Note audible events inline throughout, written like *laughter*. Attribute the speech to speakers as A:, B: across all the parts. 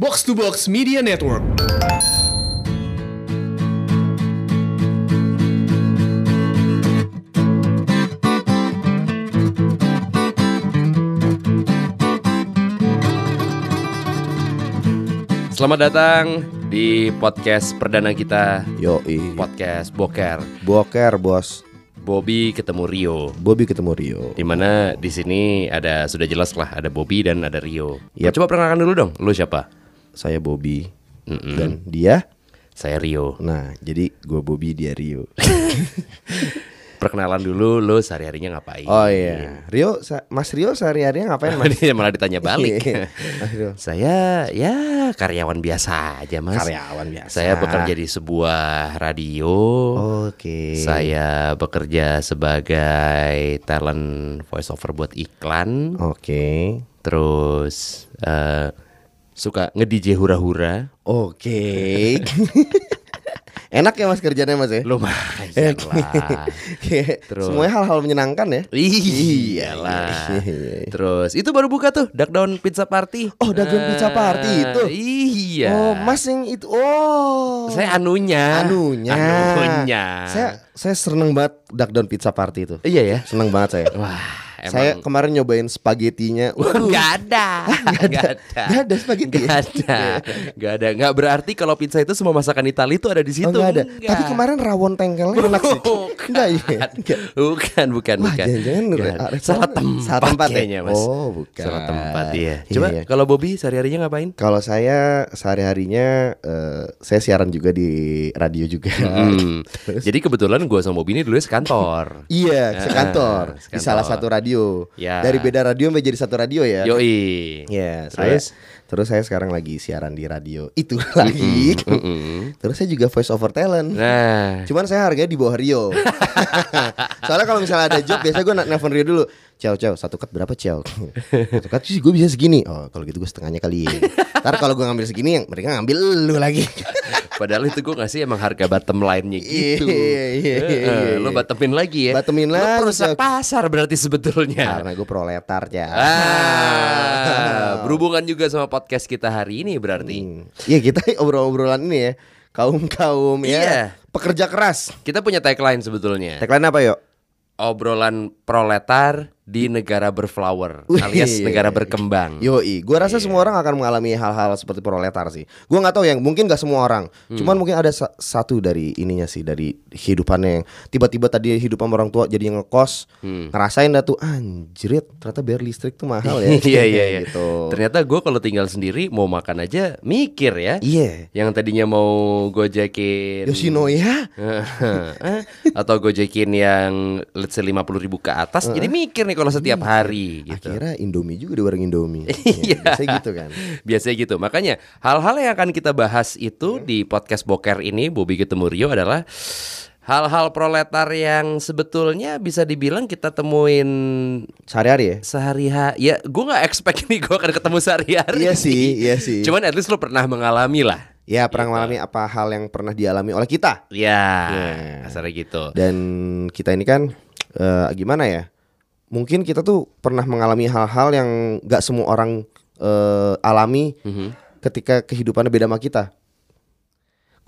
A: Box to Box Media Network.
B: Selamat datang di podcast perdana kita,
C: Yoi
B: podcast Boker.
C: Boker bos
B: Bobby ketemu Rio.
C: Bobby ketemu Rio
B: Dimana di sini ada sudah jelas lah ada Bobby dan ada Rio. Ya
C: Yap.
B: Coba perkenalkan dulu dong, lu siapa?
C: Saya Bobby Dan dia
B: Saya Rio.
C: Nah jadi gue Bobby dia Rio
B: Perkenalan dulu, lu sehari harinya ngapain?
C: Oh
B: *laughs*
C: iya Rio sa- Mas Rio sehari-harinya ngapain mas?
B: Dia
C: Iya,
B: malah ditanya
C: *laughs*
B: balik.
C: Mas Rio.
B: Saya ya karyawan biasa aja mas.
C: Karyawan biasa. Oh,
B: Saya bekerja di sebuah radio.
C: Oke
B: Saya bekerja sebagai talent voiceover buat iklan.
C: Oke
B: terus eh, suka nge-DJ hura-hura
C: Oke *laughs* Enak ya mas kerjanya mas ya?
B: lumayan lah
C: Kayak
B: Terus.
C: Semuanya hal-hal menyenangkan ya?
B: iyalah terus itu baru buka tuh Duck Down Pizza Party
C: Oh, Duck Down Pizza
B: Eh,
C: Party itu?
B: iya
C: Oh mas yang itu Oh
B: saya anunya
C: Anunya
B: anunya
C: Saya, saya seneng banget Duck Down Pizza Party itu
B: iya ya
C: Seneng banget saya
B: wah emang
C: Saya kemarin nyobain
B: *laughs*
C: spagetinya. Waduh, Ah,
B: Gak
C: *laughs*
B: ada,
C: Nggak ada. Nggak ada spaghetti ya?
B: Gak ada, gak ada. Nggak berarti kalau pizza itu semua masakan Italia itu Oh, ada di situ.
C: oh, nggak ada.
B: Nggak.
C: Tapi kemarin rawon tengkelnya enak sih. Enggak iya. Nggak.
B: bukan, bukan,
C: Wah,
B: bukan.
C: jangan-jangan
B: Bukan.
C: re- restoran.
B: salah tempat,
C: Salah tempat ya?
B: kayaknya, Mas.
C: Oh, bukan.
B: Salah tempat iya.
C: Iya,
B: Coba
C: iya.
B: kalau Bobby sehari-harinya ngapain?
C: Kalau saya sehari-harinya eh, saya siaran juga di radio juga.
B: Hmm. *laughs* Jadi kebetulan gua sama Bobby ini dulu sekantor.
C: *laughs* Iya,
B: Ah,
C: sekantor, di
B: sekantor.
C: salah satu radio.
B: Ya.
C: Dari beda radio sampai jadi satu radio ya.
B: Yoi.
C: Ya, saya
B: Terus?
C: terus saya sekarang lagi siaran di radio. Itu *laughs* lagi. Terus saya juga voice over talent.
B: Nah,
C: Cuman saya harganya di bawah
B: *laughs*
C: Rio. Soalnya kalau misalnya ada job biasanya gue nelfon Rio dulu. Ciao ciao satu cut berapa ciao? Satu cut sih gue bisa segini. Oh kalau gitu gue setengahnya kali. Ntar kalau gue ngambil segini yang mereka ngambil lu
B: *laughs*
C: lagi.
B: padahal itu gua ngasih emang harga bottom line-nya gitu.
C: Iya, iya, iya,
B: Eh,
C: iya.
B: Lo bottomin lagi ya.
C: Bottomin
B: Lo
C: lagi,
B: perusak
C: Cok.
B: pasar berarti sebetulnya.
C: Karena gue proletar ya.
B: Ah, berhubungan juga sama podcast kita hari ini berarti.
C: Iya kita *laughs* obrol-obrolan ini ya kaum kaum
B: Iya.
C: ya pekerja keras.
B: Kita punya tagline sebetulnya.
C: Tagline apa yuk?
B: Obrolan proletar di negara berflower alias
C: Iya. Wih. iya,
B: negara berkembang.
C: Yoi, gue
B: Iya.
C: rasa semua orang akan mengalami hal-hal seperti proletar sih. Gue nggak tahu yang mungkin nggak semua orang,
B: Hmm.
C: cuman mungkin ada sa- satu dari ininya sih dari kehidupannya yang tiba-tiba tadi hidupan orang tua jadi ngekos,
B: Hmm.
C: ngerasain dah tuh anjrit ternyata bayar listrik tuh mahal ya.
B: *laughs* *laughs* Iya iya iya.
C: gitu.
B: Ternyata gue kalau tinggal sendiri mau makan aja mikir ya.
C: Iya.
B: Yang tadinya mau gojekin
C: Yoshinoya,
B: *laughs* Eh, atau gojekin yang let's say 50 ribu ke atas jadi mikir nih kalau setiap hari gitu.
C: akhirnya Indomie juga di warung
B: *laughs*
C: Indomie. Iya, biasanya gitu kan.
B: Biasanya gitu. Makanya hal-hal yang akan kita bahas
C: Iya.
B: itu di podcast Boker ini Bobi ketemu Rio adalah hal-hal proletar yang sebetulnya bisa dibilang kita temuin
C: Sehari-hari ya.
B: sehari-hari. Ya, gua nggak expect *laughs* nih gua akan ketemu sehari-hari.
C: Iya sih, iya sih.
B: Cuman at least lu pernah mengalami lah.
C: ya
B: Iya.
C: perang mengalami apa hal yang pernah dialami oleh kita
B: Ya,
C: Iya.
B: kasarnya gitu.
C: dan kita ini kan eh, gimana ya mungkin kita tuh pernah mengalami hal-hal yang nggak semua orang eh, alami
B: Mhm.
C: ketika kehidupannya beda sama kita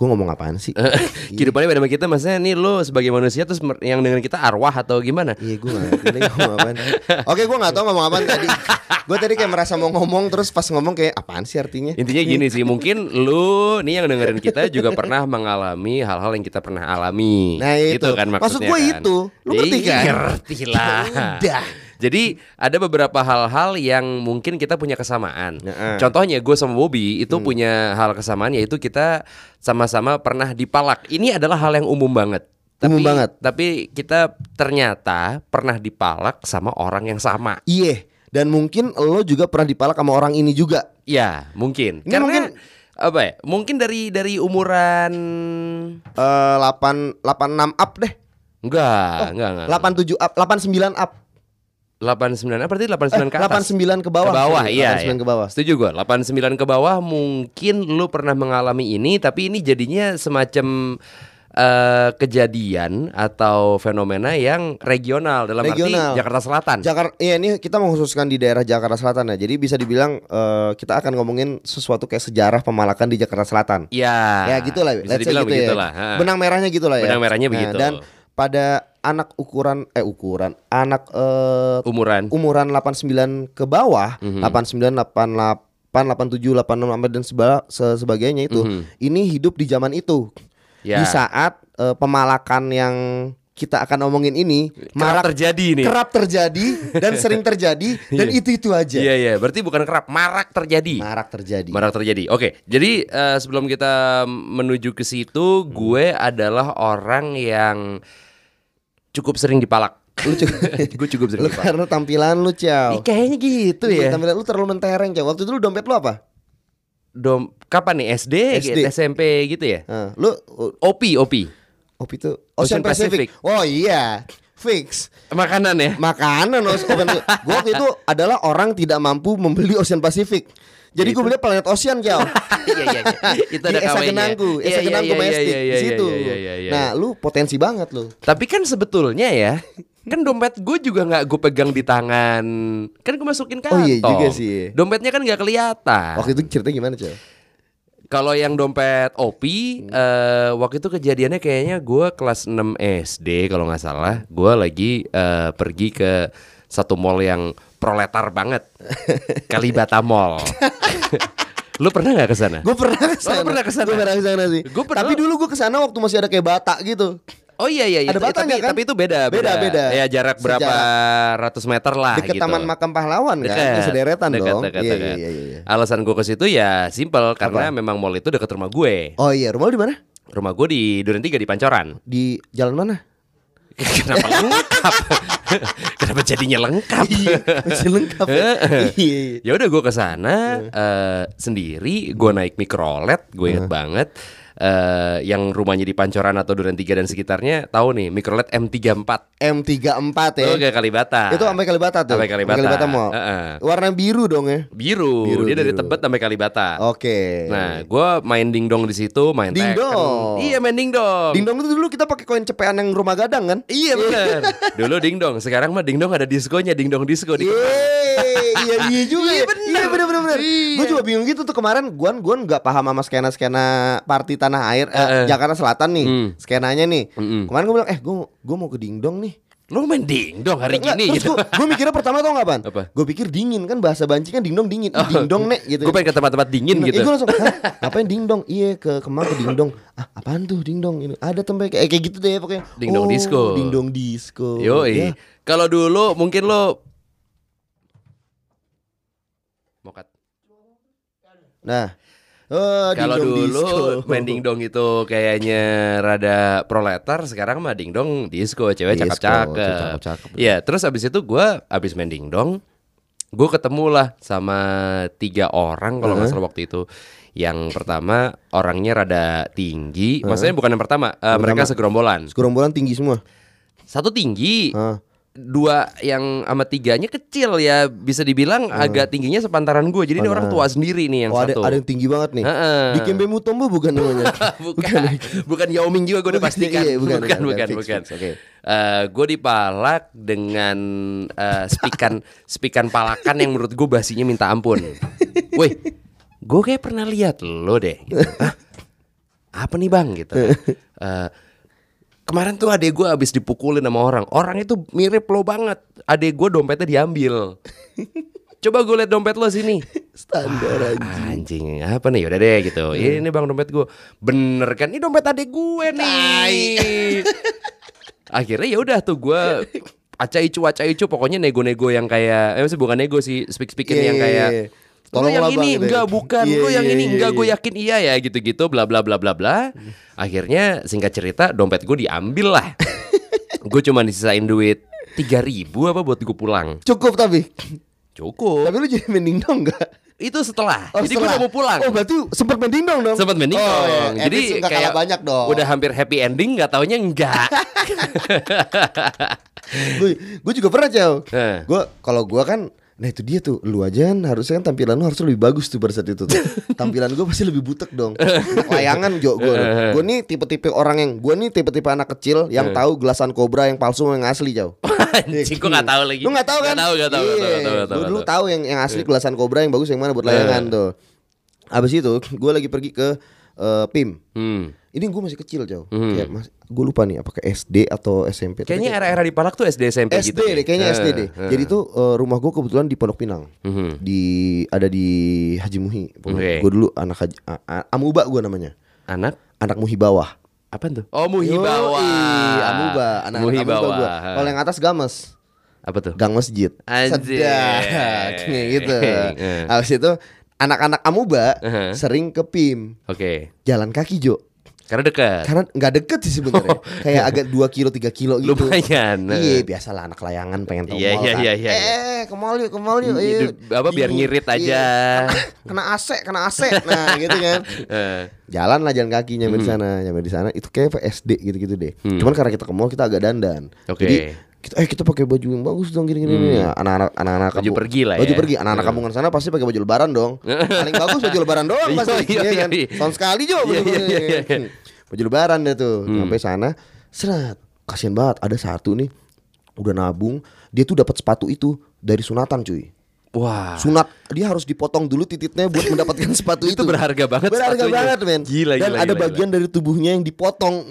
C: gue ngomong apaan sih
B: Eh. Kehidupannya beda sama kita, maksudnya nih lu sebagai manusia terus mer- yang dengan kita arwah atau gimana?
C: Iya gue gak ngerti lagi ngomong apaan Oke gue gak tau ngomong apaan tadi Gue tadi kayak merasa mau ngomong Terus pas ngomong kayak apaan sih artinya
B: Intinya gini sih, mungkin lu nih yang dengerin
C: *laughs*
B: kita juga pernah mengalami hal-hal yang kita pernah alami.
C: Nah, itu.
B: Gitu kan maksudnya.
C: Maksud gua
B: kan?
C: itu. Lu ngerti
B: Iya,
C: kan?
B: Ngerti lah.
C: Ya udah.
B: Jadi ada beberapa hal-hal yang mungkin kita punya kesamaan.
C: Ya, eh.
B: Contohnya gue sama Bobby itu
C: Hmm.
B: punya hal kesamaan yaitu kita sama-sama pernah dipalak. Ini adalah hal yang umum banget.
C: Umum banget.
B: Tapi kita ternyata pernah dipalak sama orang yang sama.
C: Iya dan mungkin lo juga pernah dipalak sama orang ini juga
B: Ya, mungkin.
C: Ini
B: Karena
C: mungkin-
B: apa ya? Mungkin dari dari umuran
C: eh 8, 86 up deh Oh,
B: enggak, enggak, enggak.
C: 87 up 89 up
B: 89 apa berarti
C: Eh,
B: 89 ke atas.
C: 89 ke bawah.
B: Ke bawah,
C: Sorry,
B: iya.
C: 89
B: iya.
C: ke bawah.
B: Setuju gua. 89 ke bawah mungkin lu pernah mengalami ini tapi ini jadinya semacam eh, kejadian atau fenomena yang regional dalam
C: Regional.
B: arti Jakarta Selatan.
C: Jakarta, iya ini kita mengkhususkan di daerah Jakarta Selatan ya. Jadi bisa dibilang eh, kita akan ngomongin sesuatu kayak sejarah pemalakan di Jakarta Selatan.
B: ya,
C: ya gitulah,
B: Bisa
C: let's say
B: dibilang
C: gitu ya.
B: begitulah. ha.
C: Benang merahnya gitulah ya.
B: Benang merahnya
C: Nah,
B: begitu.
C: Dan pada anak ukuran eh ukuran anak eh,
B: Umuran.
C: umuran 89 ke bawah,
B: Mhm.
C: 89 88 87 86 sampai dan seba- se- sebagainya itu
B: Mhm.
C: ini hidup di zaman itu.
B: Ya.
C: Di saat eh, pemalakan yang kita akan omongin ini
B: Marak
C: marak
B: terjadi nih.
C: kerap terjadi dan sering
B: *laughs*
C: terjadi dan
B: Iya.
C: itu itu aja
B: Iya iya, berarti bukan kerap, marak terjadi.
C: marak terjadi
B: Marak terjadi. Oke, jadi eh, sebelum kita menuju ke situ, gue adalah orang yang cukup sering dipalak.
C: lu juga
B: *laughs* gue cukup sering
C: *laughs* lu
B: dipalak.
C: karena tampilan lu ciao
B: Ih, kayaknya gitu ya.
C: tampilan lu terlalu mentereng ciao waktu itu lu dompet lu apa
B: Dom, kapan nih SD,
C: SD.
B: SMP gitu ya?
C: Nah, lu uh,
B: OP, OP.
C: op itu
B: Ocean
C: Ocean,
B: Pacific.
C: Pacific. oh iya fix
B: Makanan ya.
C: makanan Ocean Pacific gua waktu itu adalah orang tidak mampu membeli Ocean Pacific jadi gue beli planet Ocean
B: *laughs* Iya
C: ciao
B: iya iya. Ya, *laughs* Itu *laughs*
C: di
B: ada
C: Esa
B: KW-nya.
C: Kenangku,
B: Iya,
C: Esa
B: iya,
C: Kenangku
B: iya, iya,
C: Majestic,
B: iya,
C: di
B: iya,
C: situ.
B: iya, iya, iya, iya.
C: Nah, lu potensi banget lu.
B: Tapi kan sebetulnya ya, kan dompet gue juga nggak gue pegang di tangan. Kan gue masukin kantong.
C: Oh, iya juga sih.
B: Dompetnya kan nggak kelihatan.
C: Waktu itu ceritanya gimana, Ciao?
B: Kalau yang dompet opi,
C: Hmm.
B: eh, waktu itu kejadiannya kayaknya gue kelas 6 SD kalau nggak salah. Gue lagi eh, pergi ke satu mall yang proletar
C: *laughs*
B: banget, Kalibata Mall. Lu pernah nggak ke sana?
C: Gue pernah
B: Oh,
C: kesana.
B: lu pernah kesana?
C: Gue pernah kesana sih.
B: Gua pernah-
C: Tapi dulu gue kesana waktu masih ada kayak bata gitu.
B: Oh iya iya, iya.
C: Ada
B: tapi,
C: batanya, kan?
B: tapi itu beda,
C: Beda, beda.
B: Ya jarak berapa ratus meter lah
C: Deket
B: gitu.
C: Taman Makam Pahlawan kan, Yang sederetan
B: dekat,
C: dong.
B: dekat,
C: iya,
B: dekat.
C: iya, iya, iya.
B: Alasan gue ke situ ya simpel karena memang mall itu dekat rumah gue.
C: Oh iya, rumah lu di mana?
B: Rumah gue di Duren Tiga di Pancoran.
C: Di jalan mana?
B: *laughs* Kenapa
C: *laughs*
B: lengkap? Kenapa jadinya lengkap?
C: Iya, Masih lengkap.
B: *laughs*
C: ya? Iya, iya.
B: ya udah gue ke sana eh, sendiri, gue naik mikrolet, gue inget
C: Iya.
B: banget. Eh, yang rumahnya di Pancoran atau Duren Tiga dan sekitarnya tahu nih mikrolet M34
C: M34 ya.
B: Lo ke Kalibata
C: Itu sampai Kalibata tuh.
B: Sampai Kalibata.
C: Mall.
B: Heeh.
C: Warna biru dong ya.
B: biru.
C: Biru,
B: dia dari
C: biru.
B: Tebet sampai Kalibata
C: Oke.
B: nah gue main dingdong di situ main Tekken.
C: Dingdong.
B: iya main dingdong
C: Dingdong itu dulu kita pakai koin cepean yang rumah gadang kan?
B: iya bener *laughs* dulu dingdong sekarang mah dingdong ada diskonya dingdong disco di
C: Yeay,
B: *laughs*
C: iya iya juga
B: Iya,
C: ya.
B: bener.
C: Iya bener bener bener.
B: Iya.
C: Gue juga bingung gitu tuh kemarin gue gue nggak paham sama skena skena party tanah air eh,
B: Eh, eh.
C: Jakarta Selatan nih
B: Hmm.
C: skenanya nih.
B: Mm-mm.
C: Kemarin gue bilang eh gue gue mau ke Dingdong nih.
B: Lo main dingdong hari
C: Nggak,
B: gini
C: terus
B: gitu.
C: gue, mikirnya pertama tau gak pan?
B: Apa?
C: Gue pikir dingin kan bahasa banci kan dingdong dingin, Ih, dingdong nek gitu.
B: Gue pengen ke tempat-tempat dingin
C: Nah,
B: gitu.
C: gue langsung "Hah? ngapain dingdong? Iya ke Kemang ke dingdong. Ah apaan tuh dingdong? Ini ada tempat kayak kayak gitu deh pokoknya.
B: Dingdong
C: Oh,
B: disco.
C: Dingdong disco.
B: Yoi.
C: Ya.
B: Kalau dulu mungkin lo mau cut.
C: Nah. eh,
B: Kalau
C: dingdong
B: dulu
C: disco.
B: *laughs* main dingdong itu kayaknya rada proletar, sekarang mah dingdong disco cewek
C: Disco, cewek
B: Iya, cakep-cakep.
C: Iya, cakep-cakep.
B: Iya, terus abis itu gua abis main dingdong, gue ketemu lah sama tiga orang kalau nggak salah waktu itu. Yang pertama orangnya rada tinggi, maksudnya bukan yang pertama, eh, mereka segerombolan.
C: Segerombolan Iya. tinggi semua.
B: Satu tinggi,
C: Hah.
B: dua yang sama tiganya kecil ya bisa dibilang agak tingginya sepantaran gue jadi ini orang tua sendiri nih yang
C: Oh, ada,
B: satu
C: ada yang tinggi banget nih.
B: Heeh.
C: Di Kembe Mutombo
B: *laughs*
C: bukan namanya.
B: bukan bukan Yao Ming juga gue udah
C: Bukan,
B: pastikan
C: iya,
B: bukan
C: bukan,
B: bukan
C: bukan,
B: bukan,
C: fix, fix, oke.
B: gue dipalak dengan eh, spikan *laughs* spikan palakan yang menurut gue basinya minta ampun woi gue kayak pernah lihat lo deh
C: *laughs*
B: gitu. Hah? apa nih bang gitu Eh, Kemarin tuh adek gue abis dipukulin sama orang Orang itu mirip lo banget Adek gue dompetnya diambil Coba gue liat dompet lo sini
C: Standar Hmm. aja.
B: Anjing apa nih udah deh gitu Ini bang dompet gue Bener kan ini dompet adik gue nih *laughs* Akhirnya ya udah tuh gue Aca icu aca icu pokoknya nego-nego yang kayak Eh maksudnya bukan nego sih speak-speakin
C: Iya,
B: yang
C: iya,
B: kayak
C: iya.
B: Lo
C: Tolonglah,
B: yang
C: Bang,"
B: ini
C: gitu ya.
B: enggak bukan
C: Iya,
B: Lo yang
C: iya,
B: ini
C: iya,
B: enggak
C: iya.
B: gue yakin iya ya gitu-gitu bla bla bla bla bla Akhirnya singkat cerita dompet gue diambil
C: *laughs*
B: lah Gue cuma disisain duit 3000 ribu apa buat gue pulang
C: Cukup tapi.
B: Cukup
C: Tapi lu jadi main dingdong enggak?
B: Itu setelah Jadi gue udah mau pulang
C: Oh, berarti sempat main dingdong dong.
B: sempat mending
C: Oh, iya.
B: dong.
C: Eh,
B: Jadi
C: itu nggak kalah
B: kayak
C: banyak dong.
B: Udah hampir happy ending nggak taunya
C: *laughs*
B: enggak.
C: gue gue juga pernah jauh
B: Eh.
C: gue kalau gue kan Nah itu dia tuh Lu aja kan harusnya kan tampilan lu harusnya lebih bagus tuh pada saat itu
B: *laughs*
C: tuh Tampilan gue pasti lebih butek dong Layangan jo gue
B: Eh,
C: Gue nih tipe-tipe orang yang Gue nih tipe-tipe anak kecil Yang tahu gelasan kobra yang palsu sama yang asli jauh
B: Eh. Anjing, gua nggak tahu lagi.
C: Lu gak tahu kan? Iya.
B: Nggak tahu, nggak tahu, nggak tahu, nggak tahu, nggak tahu, Eh.
C: Lu dulu
B: nggak
C: tahu yang yang asli gelasan kobra yang bagus yang mana buat layangan tuh Abis itu gue lagi pergi ke eh, PIM
B: Hmm.
C: Ini gue masih kecil jauh Kayak mas, Gue lupa nih apakah SD atau SMP tapi
B: Kayaknya era-era di Palak tuh SD SMP
C: SD
B: gitu.
C: deh, kayaknya
B: Eh,
C: SD deh. Jadi tuh eh, rumah gue kebetulan di Pondok Pinang,
B: Hmm.
C: di ada di Haji Muhi.
B: Oke.
C: Gue dulu anak Haji, a- a- Amuba gue namanya,
B: Anak
C: anak Muhi bawah.
B: apa tuh? Oh Muhibawa.
C: Yoi, Amuba, anak
B: Muhi
C: Amuba
B: Bawah.
C: gua. Kalau yang atas Games,
B: apa tuh?
C: Gang Masjid.
B: Anjing.
C: Sedap, *laughs* kayak gitu.
B: *laughs* Eh.
C: Habis itu anak-anak Amuba
B: Uh-huh.
C: sering ke PIM,
B: Oke.
C: jalan kaki Jo.
B: Karena dekat.
C: Karena nggak deket sih sebenarnya, kayak agak 2 kilo 3 kilo gitu.
B: Oh, iya. Lumayan.
C: Iya, biasalah anak layangan pengen tahu
B: Iya,
C: mall
B: iya,
C: kan.
B: iya, iya, iya.
C: Eh, ke mall yuk, ke mall yuk.
B: Iya,
C: yuk.
B: di- apa, biar
C: Iya,
B: ngirit
C: iya.
B: aja.
C: Kena AC, kena AC. Nah, gitu
B: *laughs*
C: kan.
B: Eh,
C: Jalan lah jalan kaki nyampe di
B: Hmm.
C: sana, nyampe di sana itu kayak SD gitu-gitu deh. Cuman karena kita ke mall kita agak dandan.
B: Oke. Hmm.
C: Jadi kita eh kita pakai baju yang bagus dong gini-gini nih. anak-anak anak-anak
B: Baju
C: kampung-
B: pergi lah
C: baju
B: ya.
C: pergi anak-anak kampungan sana pasti pakai baju lebaran
B: *laughs*
C: dong paling bagus baju lebaran doang
B: Iya,
C: pasti iya
B: iya,
C: kan
B: iya.
C: tahun sekali juga baju,
B: Iya, iya, iya, iya. Hmm.
C: baju lebaran deh tuh sampai sana seret kasian banget ada satu nih udah nabung dia tuh dapat sepatu itu dari sunatan cuy
B: Wah.
C: Ah. sunat dia harus dipotong dulu titiknya buat
B: *laughs*
C: mendapatkan sepatu itu
B: Itu berharga banget
C: berharga
B: sepatunya.
C: banget men
B: Gila,
C: dan
B: gila,
C: ada
B: gila,
C: bagian dari tubuhnya yang dipotong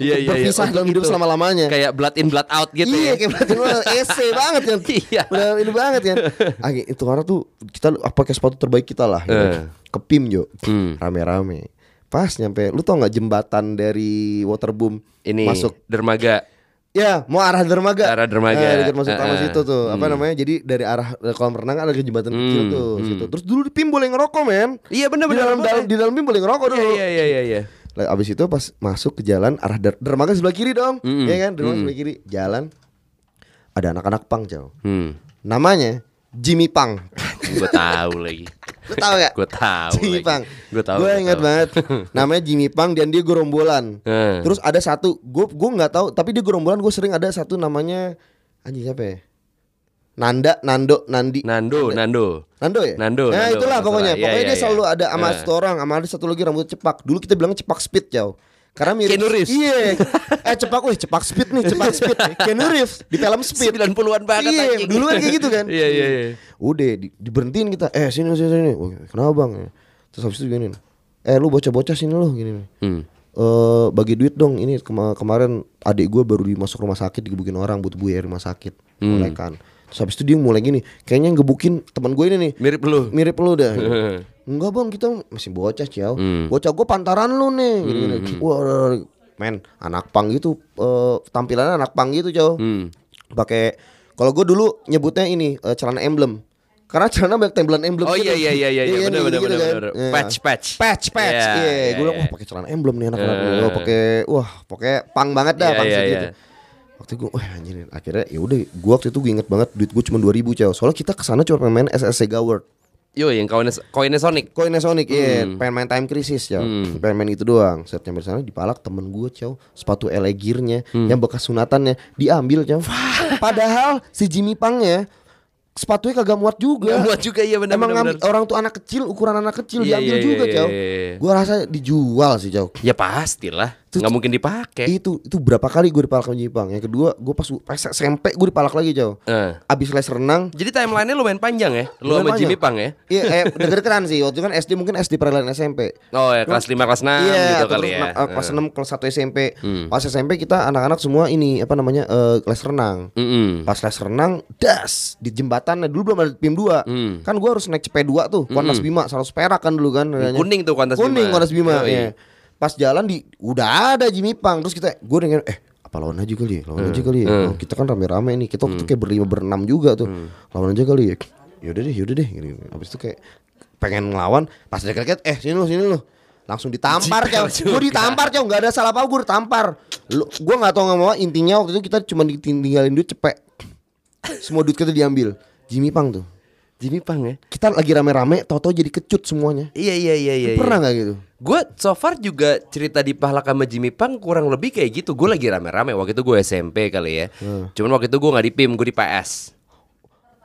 B: Iya,
C: untuk
B: iya, iya.
C: berpisah
B: Untuk
C: dalam hidup
B: itu.
C: selama lamanya
B: Kayak blood in blood out gitu ya.
C: iya, kayak berarti lu ese banget kan.
B: *laughs* Iya.
C: Benar ini banget
B: *laughs*
C: kan. Ah, itu karena tuh kita apa pakai sepatu terbaik kita lah. ya.
B: Eh.
C: Ke PIM Jo.
B: Hmm.
C: Rame-rame. Pas nyampe, lu tau nggak jembatan dari Waterboom
B: Ini
C: masuk?
B: dermaga.
C: Ya, mau arah dermaga.
B: Arah dermaga.
C: Eh, dekat masuk
B: Eh,
C: taman
B: eh.
C: situ tuh. Apa namanya? Jadi dari arah eh, kolam renang ada ke jembatan kecil tuh situ. Terus dulu di PIM boleh ngerokok, men.
B: Hmm, Iya
C: Di
B: benar-benar.
C: dalam, dalam di dalam PIM boleh ngerokok dulu.
B: Iya iya iya iya. iya.
C: Lah, Abis itu pas masuk ke jalan arah der- dermaga sebelah kiri dong,
B: Mm-mm.
C: ya kan? Dermaga sebelah kiri, jalan ada anak-anak pang jauh.
B: Hmm.
C: Namanya Jimmy Pang. *laughs*
B: Gue tahu lagi.
C: Lu tahu gak?
B: Gue
C: *laughs*
B: tahu.
C: Jimmy
B: lagi.
C: Pang.
B: Gue tahu.
C: Gue
B: gua
C: ingat
B: tahu.
C: banget. Namanya Jimmy Pang dan dia gerombolan.
B: Eh.
C: Terus ada satu, gue gue nggak tahu, tapi dia gerombolan. Gue sering ada satu namanya anjing siapa ya? Nanda, Nando, Nandi.
B: Nando, Nando.
C: Nando ya?
B: Nando,
C: Nah,
B: Nando,
C: itulah
B: masalah.
C: pokoknya.
B: Iya,
C: Pokoknya
B: iya,
C: dia
B: iya.
C: selalu ada sama
B: Eh.
C: satu orang, sama ada satu lagi rambut cepak. Dulu kita bilang cepak speed, jauh. Karena mirip
B: Keanu Reeves.
C: Iya. eh cepak weh, cepak speed nih, cepak
B: *laughs*
C: speed. Keanu Reeves di film Speed.
B: 90-an banget
C: Iya,
B: anjing.
C: duluan kayak gitu kan.
B: Iya iya iya.
C: Udah di, diberhentiin kita. Eh, sini sini sini. Wah, kenapa, Bang? Terus habis itu gini. Eh, lu bocah-bocah sini lu gini.
B: Hmm.
C: Eh, bagi duit dong ini kema- kemarin adik gue baru dimasuk rumah sakit digebukin orang butuh buaya rumah sakit
B: Hmm.
C: mulai kan terus habis itu dia mulai gini kayaknya yang gebukin teman gue ini nih
B: Mirip lu.
C: mirip lu
B: *laughs*
C: dah enggak bang kita masih bocah ciao
B: Hmm.
C: bocah gue pantaran lu nih gini, gini. Wah, wah, wah. men anak pang gitu eh, tampilannya anak pang gitu ciao
B: Hmm.
C: pakai kalau gue dulu nyebutnya ini eh, celana emblem karena celana banyak tembelan emblem
B: Oh
C: gitu.
B: iya iya iya iya
C: Iya,
B: iya benar
C: gitu,
B: benar
C: gitu
B: benar
C: kan.
B: benar.
C: Iya.
B: Patch patch.
C: patch patch iya gue bilang wah pakai celana emblem nih anak-anak nih. wah pakai wah pakai pang banget dah
B: Iya,
C: pang
B: iya,
C: sih
B: iya.
C: gitu waktu gue wah anjir akhirnya ya udah gue waktu itu gue inget banget duit gue cuma 2000 ribu soalnya kita kesana cuma pengen main SSC Gaward
B: Yo yang koinnya koinnya Sonic.
C: Koinnya Sonic iya
B: Hmm.
C: pengen main time crisis ya pengen main itu doang saat nyampe sana dipalak temen gue cow sepatu elegirnya
B: Hmm.
C: yang bekas sunatannya diambil cow padahal si Jimmy Pangnya sepatunya kagak muat juga
B: Gak muat juga, iya, benar,
C: emang oh.
B: benar,
C: ngambil-
B: benar.
C: orang tuh anak kecil ukuran anak kecil
B: Iya,
C: diambil
B: iya,
C: juga
B: iya,
C: cow
B: iya, iya.
C: gue rasa dijual sih cow
B: Ya pastilah.
C: Itu-
B: Nggak mungkin dipakai.
C: itu itu berapa kali gue dipalak sama Jepang yang kedua gue pas, pas SMP gue dipalak lagi jauh
B: Eh.
C: abis les renang
B: Jadi timelinenya lumayan panjang ya. Lu sama
C: Lumayan
B: Jimmy
C: banyak.
B: Pang ya.
C: iya eh, deketan sih waktu itu kan SD mungkin SD peralihan SMP
B: Oh ya kelas 5 kelas 6 gitu
C: atau
B: kali
C: terus
B: ya. Hmm.
C: na- eh, kelas 6 kelas 1 SMP pas SMP kita anak-anak semua ini apa namanya eh, les renang
B: Mm-mm.
C: pas les renang das di jembatannya dulu belum ada PIM 2
B: Hmm.
C: kan gue harus naik CP 2 tuh Kondas Bima 100 perak kan dulu kan harganya.
B: Kuning tuh Kondas
C: kuning
B: Bima.
C: Kondas Bima
B: Yoi.
C: iya. pas jalan di udah ada Jimmy Pang terus kita gue dengan eh apa lawan aja kali ya lawan
B: Hmm.
C: aja kali ya Oh, kita kan rame-rame nih kita waktu itu kayak berlima berenam juga tuh
B: Hmm.
C: lawan aja kali ya yaudah deh yaudah deh gitu. abis itu kayak pengen ngelawan pas deket-deket eh sini lu sini lu langsung ditampar
B: Jiper
C: cow
B: juga.
C: gue ditampar cow nggak ada salah apa gue ditampar lu gue nggak tau nggak mau intinya waktu itu kita cuma ditinggalin duit cepet semua duit kita diambil Jimmy Pang tuh
B: Jimmy Pang ya.
C: kita lagi rame-rame toto jadi kecut semuanya
B: Iya iya iya iya.
C: pernah nggak gitu
B: Gue so far juga cerita di Pahlak sama Jimmy Pang kurang lebih kayak gitu. Gue
C: Hmm.
B: lagi rame-rame waktu itu gue SMP kali ya. Cuman waktu itu gue nggak di PIM, gue di PS.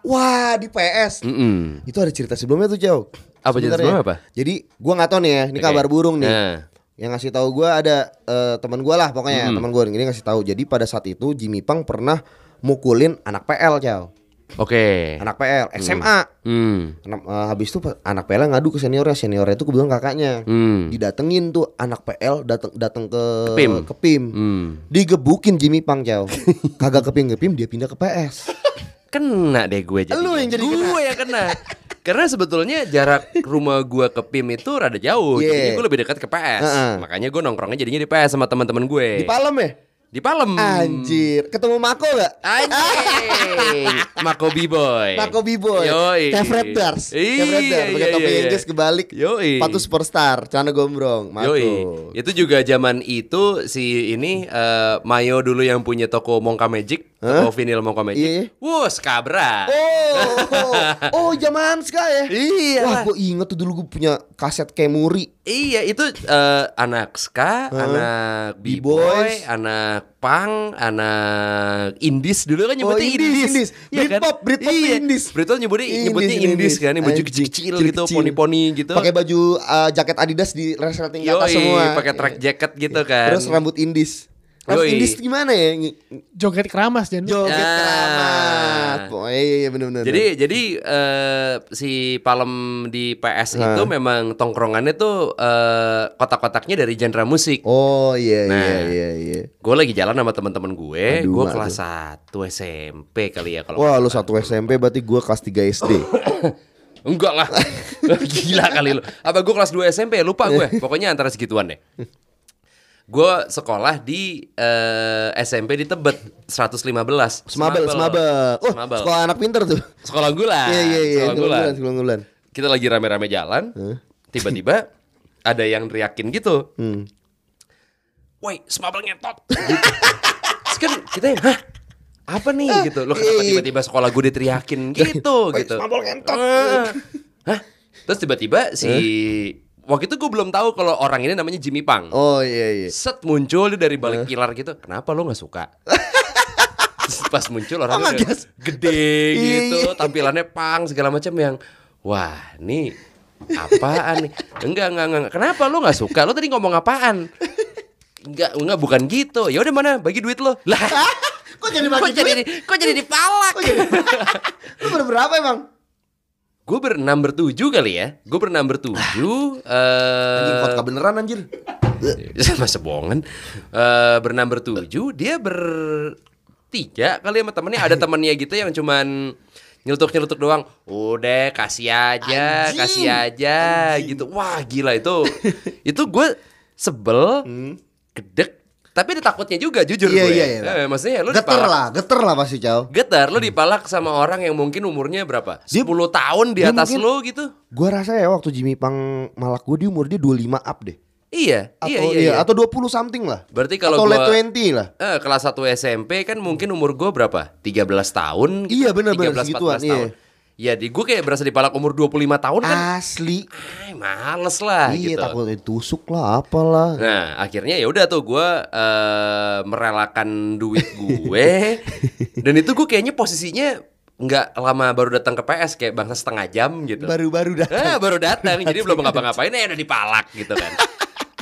C: Wah di PS
B: Mm-mm.
C: Itu ada cerita sebelumnya tuh Jauh
B: Apa cerita
C: Sebenarnya.
B: sebelumnya apa?
C: Jadi gua nggak tahu nih ya Ini
B: Oke.
C: kabar burung nih
B: Nah.
C: Yang ngasih tahu gua ada eh, teman gua lah pokoknya
B: Hmm.
C: teman gua ini ngasih tahu. Jadi pada saat itu Jimmy Pang pernah mukulin anak PL Jauh
B: Oke.
C: Anak PL SMA
B: Hmm.
C: Anak- eh, habis itu pa- anak PL ngadu ke seniornya, seniornya itu kebetulan kakaknya.
B: Hmm.
C: Didatengin tuh anak PL datang datang ke
B: Ke PIM.
C: ke PIM.
B: Hmm.
C: Digebukin Jimmy Pang jauh. Kagak ke PIM ke PIM dia pindah ke PS.
B: Kena deh gue jadi.
C: Lu yang jadi
B: gue yang kena. Karena sebetulnya jarak rumah gue ke PIM itu rada jauh.
C: Iya.
B: Jadinya gue lebih dekat ke PS.
C: Heeh.
B: Makanya gue nongkrongnya jadinya di PS sama teman-teman gue.
C: Di Palem ya?
B: Di Palem.
C: Anjir, ketemu Mako gak?
B: Ah, *laughs* Anjing. Mako B-Boy.
C: Mako B-Boy
B: Eh. Yoi.
C: Kayak Fred Dars Kayak Fred
B: Iya,
C: Dars Pakai topi
B: iya,
C: Inggris
B: iya.
C: kebalik
B: Yoi.
C: Patu superstar Celana gombrong Mako
B: Yoi. Itu juga zaman itu si ini eh, Mayo dulu yang punya toko Mongka Magic, toko vinil Mongka
C: Iya.
B: Magic. Wuh, skabra.
C: Oh Oh zaman sekarang ya
B: Iya.
C: Wah gue inget tuh dulu gue punya kaset Kemuri
B: Iya, itu eh, anak ska, anak b-boy,
C: B-boys.
B: anak punk, anak indies dulu kan nyebutnya Iya kan?
C: Oh, indies, indies. Britpop, Britpop tuh indies. Iya,
B: Britpop nyebutnya
C: Indies,
B: nyebutnya indies
C: indies.
B: kan, yang baju
C: Anjing,
B: kecil-kecil
C: kecil-kecil.
B: gitu, poni-poni gitu.
C: pakai baju uh, jaket Adidas di resleting ke atas
B: Yoi,
C: semua Iya.
B: pakai track jacket gitu kan.
C: terus rambut indis rambut
B: Yoi.
C: indis gimana ya Ngi-
A: Joget keramas dan
C: joget
B: Ah.
C: keramat oh iya iya, bener bener
B: Jadi jadi eh, si Palem di PS itu memang tongkrongannya tuh eh, kotak-kotaknya dari genre musik.
C: oh iya iya
B: Nah.
C: iya iya
B: Gue lagi jalan sama teman-teman gue,
C: Aduh,
B: gue
C: aduh.
B: kelas 1 SMP kali ya kalau Oh,
C: wah lu satu SMP berarti gua kelas 3 SD
B: Enggak
C: *laughs*
B: lah. Gila kali lu. Apa gue kelas 2 SMP lupa gue. Pokoknya antara segituan deh. Gue sekolah di eh, SMP di Tebet 115.
C: semabel semabel oh
B: Semabel.
C: sekolah anak pinter tuh
B: Sekolah gula.
C: iya iya iya
B: Nah, Sekolah
C: sekolah
B: gulan.
C: bulan sekolah bulan
B: Kita lagi rame-rame jalan.
C: *laughs*
B: Tiba-tiba ada yang riakin gitu.
C: Hmm.
B: Woi, semabel ngetot. Gitu. Terus kan kita yang, hah? Apa nih gitu? Lo kenapa
C: iya.
B: tiba-tiba sekolah gue
C: *laughs*
B: diteriakin gitu
C: Woi,
B: gitu.
C: semabel ngentot.
B: Eh. Hah? Terus tiba-tiba si waktu itu gue belum tahu kalau orang ini namanya Jimmy Pang.
C: oh iya iya
B: Set muncul dia dari
C: Eh.
B: balik pilar gitu. Kenapa lo nggak
C: *laughs*
B: suka? Terus Pas muncul orangnya udah
C: ngegas.
B: gede gitu,
C: *laughs* Iya.
B: tampilannya pang segala macam yang wah nih apaan nih? Enggak enggak enggak. Kenapa lo nggak suka? Lo tadi ngomong apaan? Enggak enggak bukan gitu. Ya udah mana bagi duit lo. Lah.
C: *laughs* kok jadi
B: kok
C: bagi
B: jadi
C: duit
B: kok jadi dipalak?
C: *laughs* lu ber- berapa emang
B: Gue berenam bertujuh kali ya. Gue berenam bertujuh.
C: anjing
B: eh
C: vodka beneran anjir
B: *laughs* sama sebongan Iya. Eh berenam bertujuh dia bertiga kali sama temennya ada temennya gitu yang cuman nyelutuk nyelutuk doang udah kasih aja
C: Anjing.
B: kasih aja gitu wah gila
C: *laughs*
B: itu itu gue sebel gedek tapi ada takutnya juga jujur
C: Hmm. Iya,
B: gue
C: iya, iya.
B: Eh, maksudnya lu
C: geter
B: dipalak-
C: lah geter lah pasti cow
B: getar lu dipalak sama orang yang mungkin umurnya berapa 10
C: Dia-
B: tahun di
C: dia
B: atas
C: mungkin-
B: lu gitu
C: gua rasa ya waktu Jimmy Pang malak gua di umur dia 25 up deh
B: iya
C: atau
B: iya
C: iya,
B: iya, iya.
C: atau 20 something lah.
B: Berarti kalau
C: atau
B: gua-
C: late 20 lah.
B: Eh, kelas 1 SMP kan mungkin umur gue berapa? 13 tahun. gitu.
C: Iya, bener, bener,
B: 13
C: segituan,
B: 14 tahun. Ya di gue kayak berasa dipalak umur 25 tahun kan.
C: Asli.
B: ay, males lah
C: Ah.
B: gitu.
C: iya, takut ditusuk lah apalah.
B: Nah, akhirnya ya udah tuh gue eh, merelakan duit gue. dan itu gue kayaknya posisinya nggak lama baru datang ke PS kayak bangsa setengah jam gitu.
C: Baru-baru dah.
B: Eh, baru datang jadi belum ngapa-ngapain ya udah dipalak gitu kan.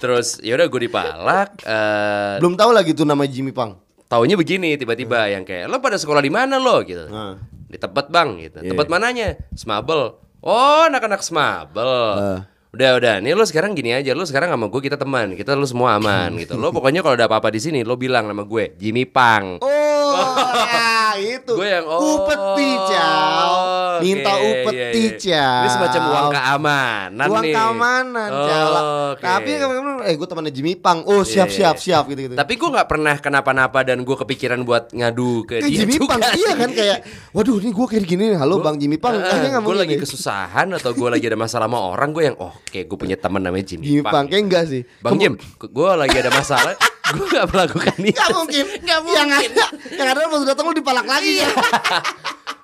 B: Terus ya udah gue dipalak eh,
C: Belum tahu lagi tuh nama Jimmy Pang.
B: Taunya begini
C: Hmm.
B: tiba-tiba yang kayak lo pada sekolah di mana lo gitu.
C: Nah.
B: Di Tebet Bang gitu.
C: Iya,
B: Tebet mananya? Smabel. Oh, anak-anak Smabel.
C: Hmm.
B: Udah udah, nih lo sekarang gini aja, lo sekarang sama gue kita teman, kita lo semua aman gitu. Lo pokoknya kalau ada apa-apa di sini lo bilang sama gue, Jimmy Pang.
C: Oh, *laughs* ya itu.
B: Gue yang oh,
C: upeti, Chow.
B: oke,
C: Minta upeti,
B: iya, iya. Ini
C: Chow.
B: semacam uang keamanan
C: Uang
B: nih.
C: keamanan, Chow.
B: Oh, oke.
C: Tapi kamu eh gue temannya Jimmy Pang. Oh, siap
B: Iya.
C: siap siap gitu gitu.
B: Tapi gue nggak pernah kenapa-napa dan gue kepikiran buat ngadu ke
C: Kayak
B: dia
C: Jimmy
B: juga
C: Pang iya kan
B: sih.
C: kayak waduh ini gue kayak gini nih. halo Bang Jimmy Pang kayaknya nggak
B: gue
C: mungkin
B: lagi
C: nih.
B: kesusahan atau gue lagi ada masalah sama orang gue yang oh kayak gue punya teman namanya Jimmy,
C: Jimmy Pang kayak enggak sih
B: Bang Jim gue lagi ada
C: *laughs*
B: masalah gue gak melakukan itu
C: Gak mungkin.
B: Gak
C: Yang
B: mungkin. Iya.
C: ada, yang ada pas datang lu dipalak lagi ya.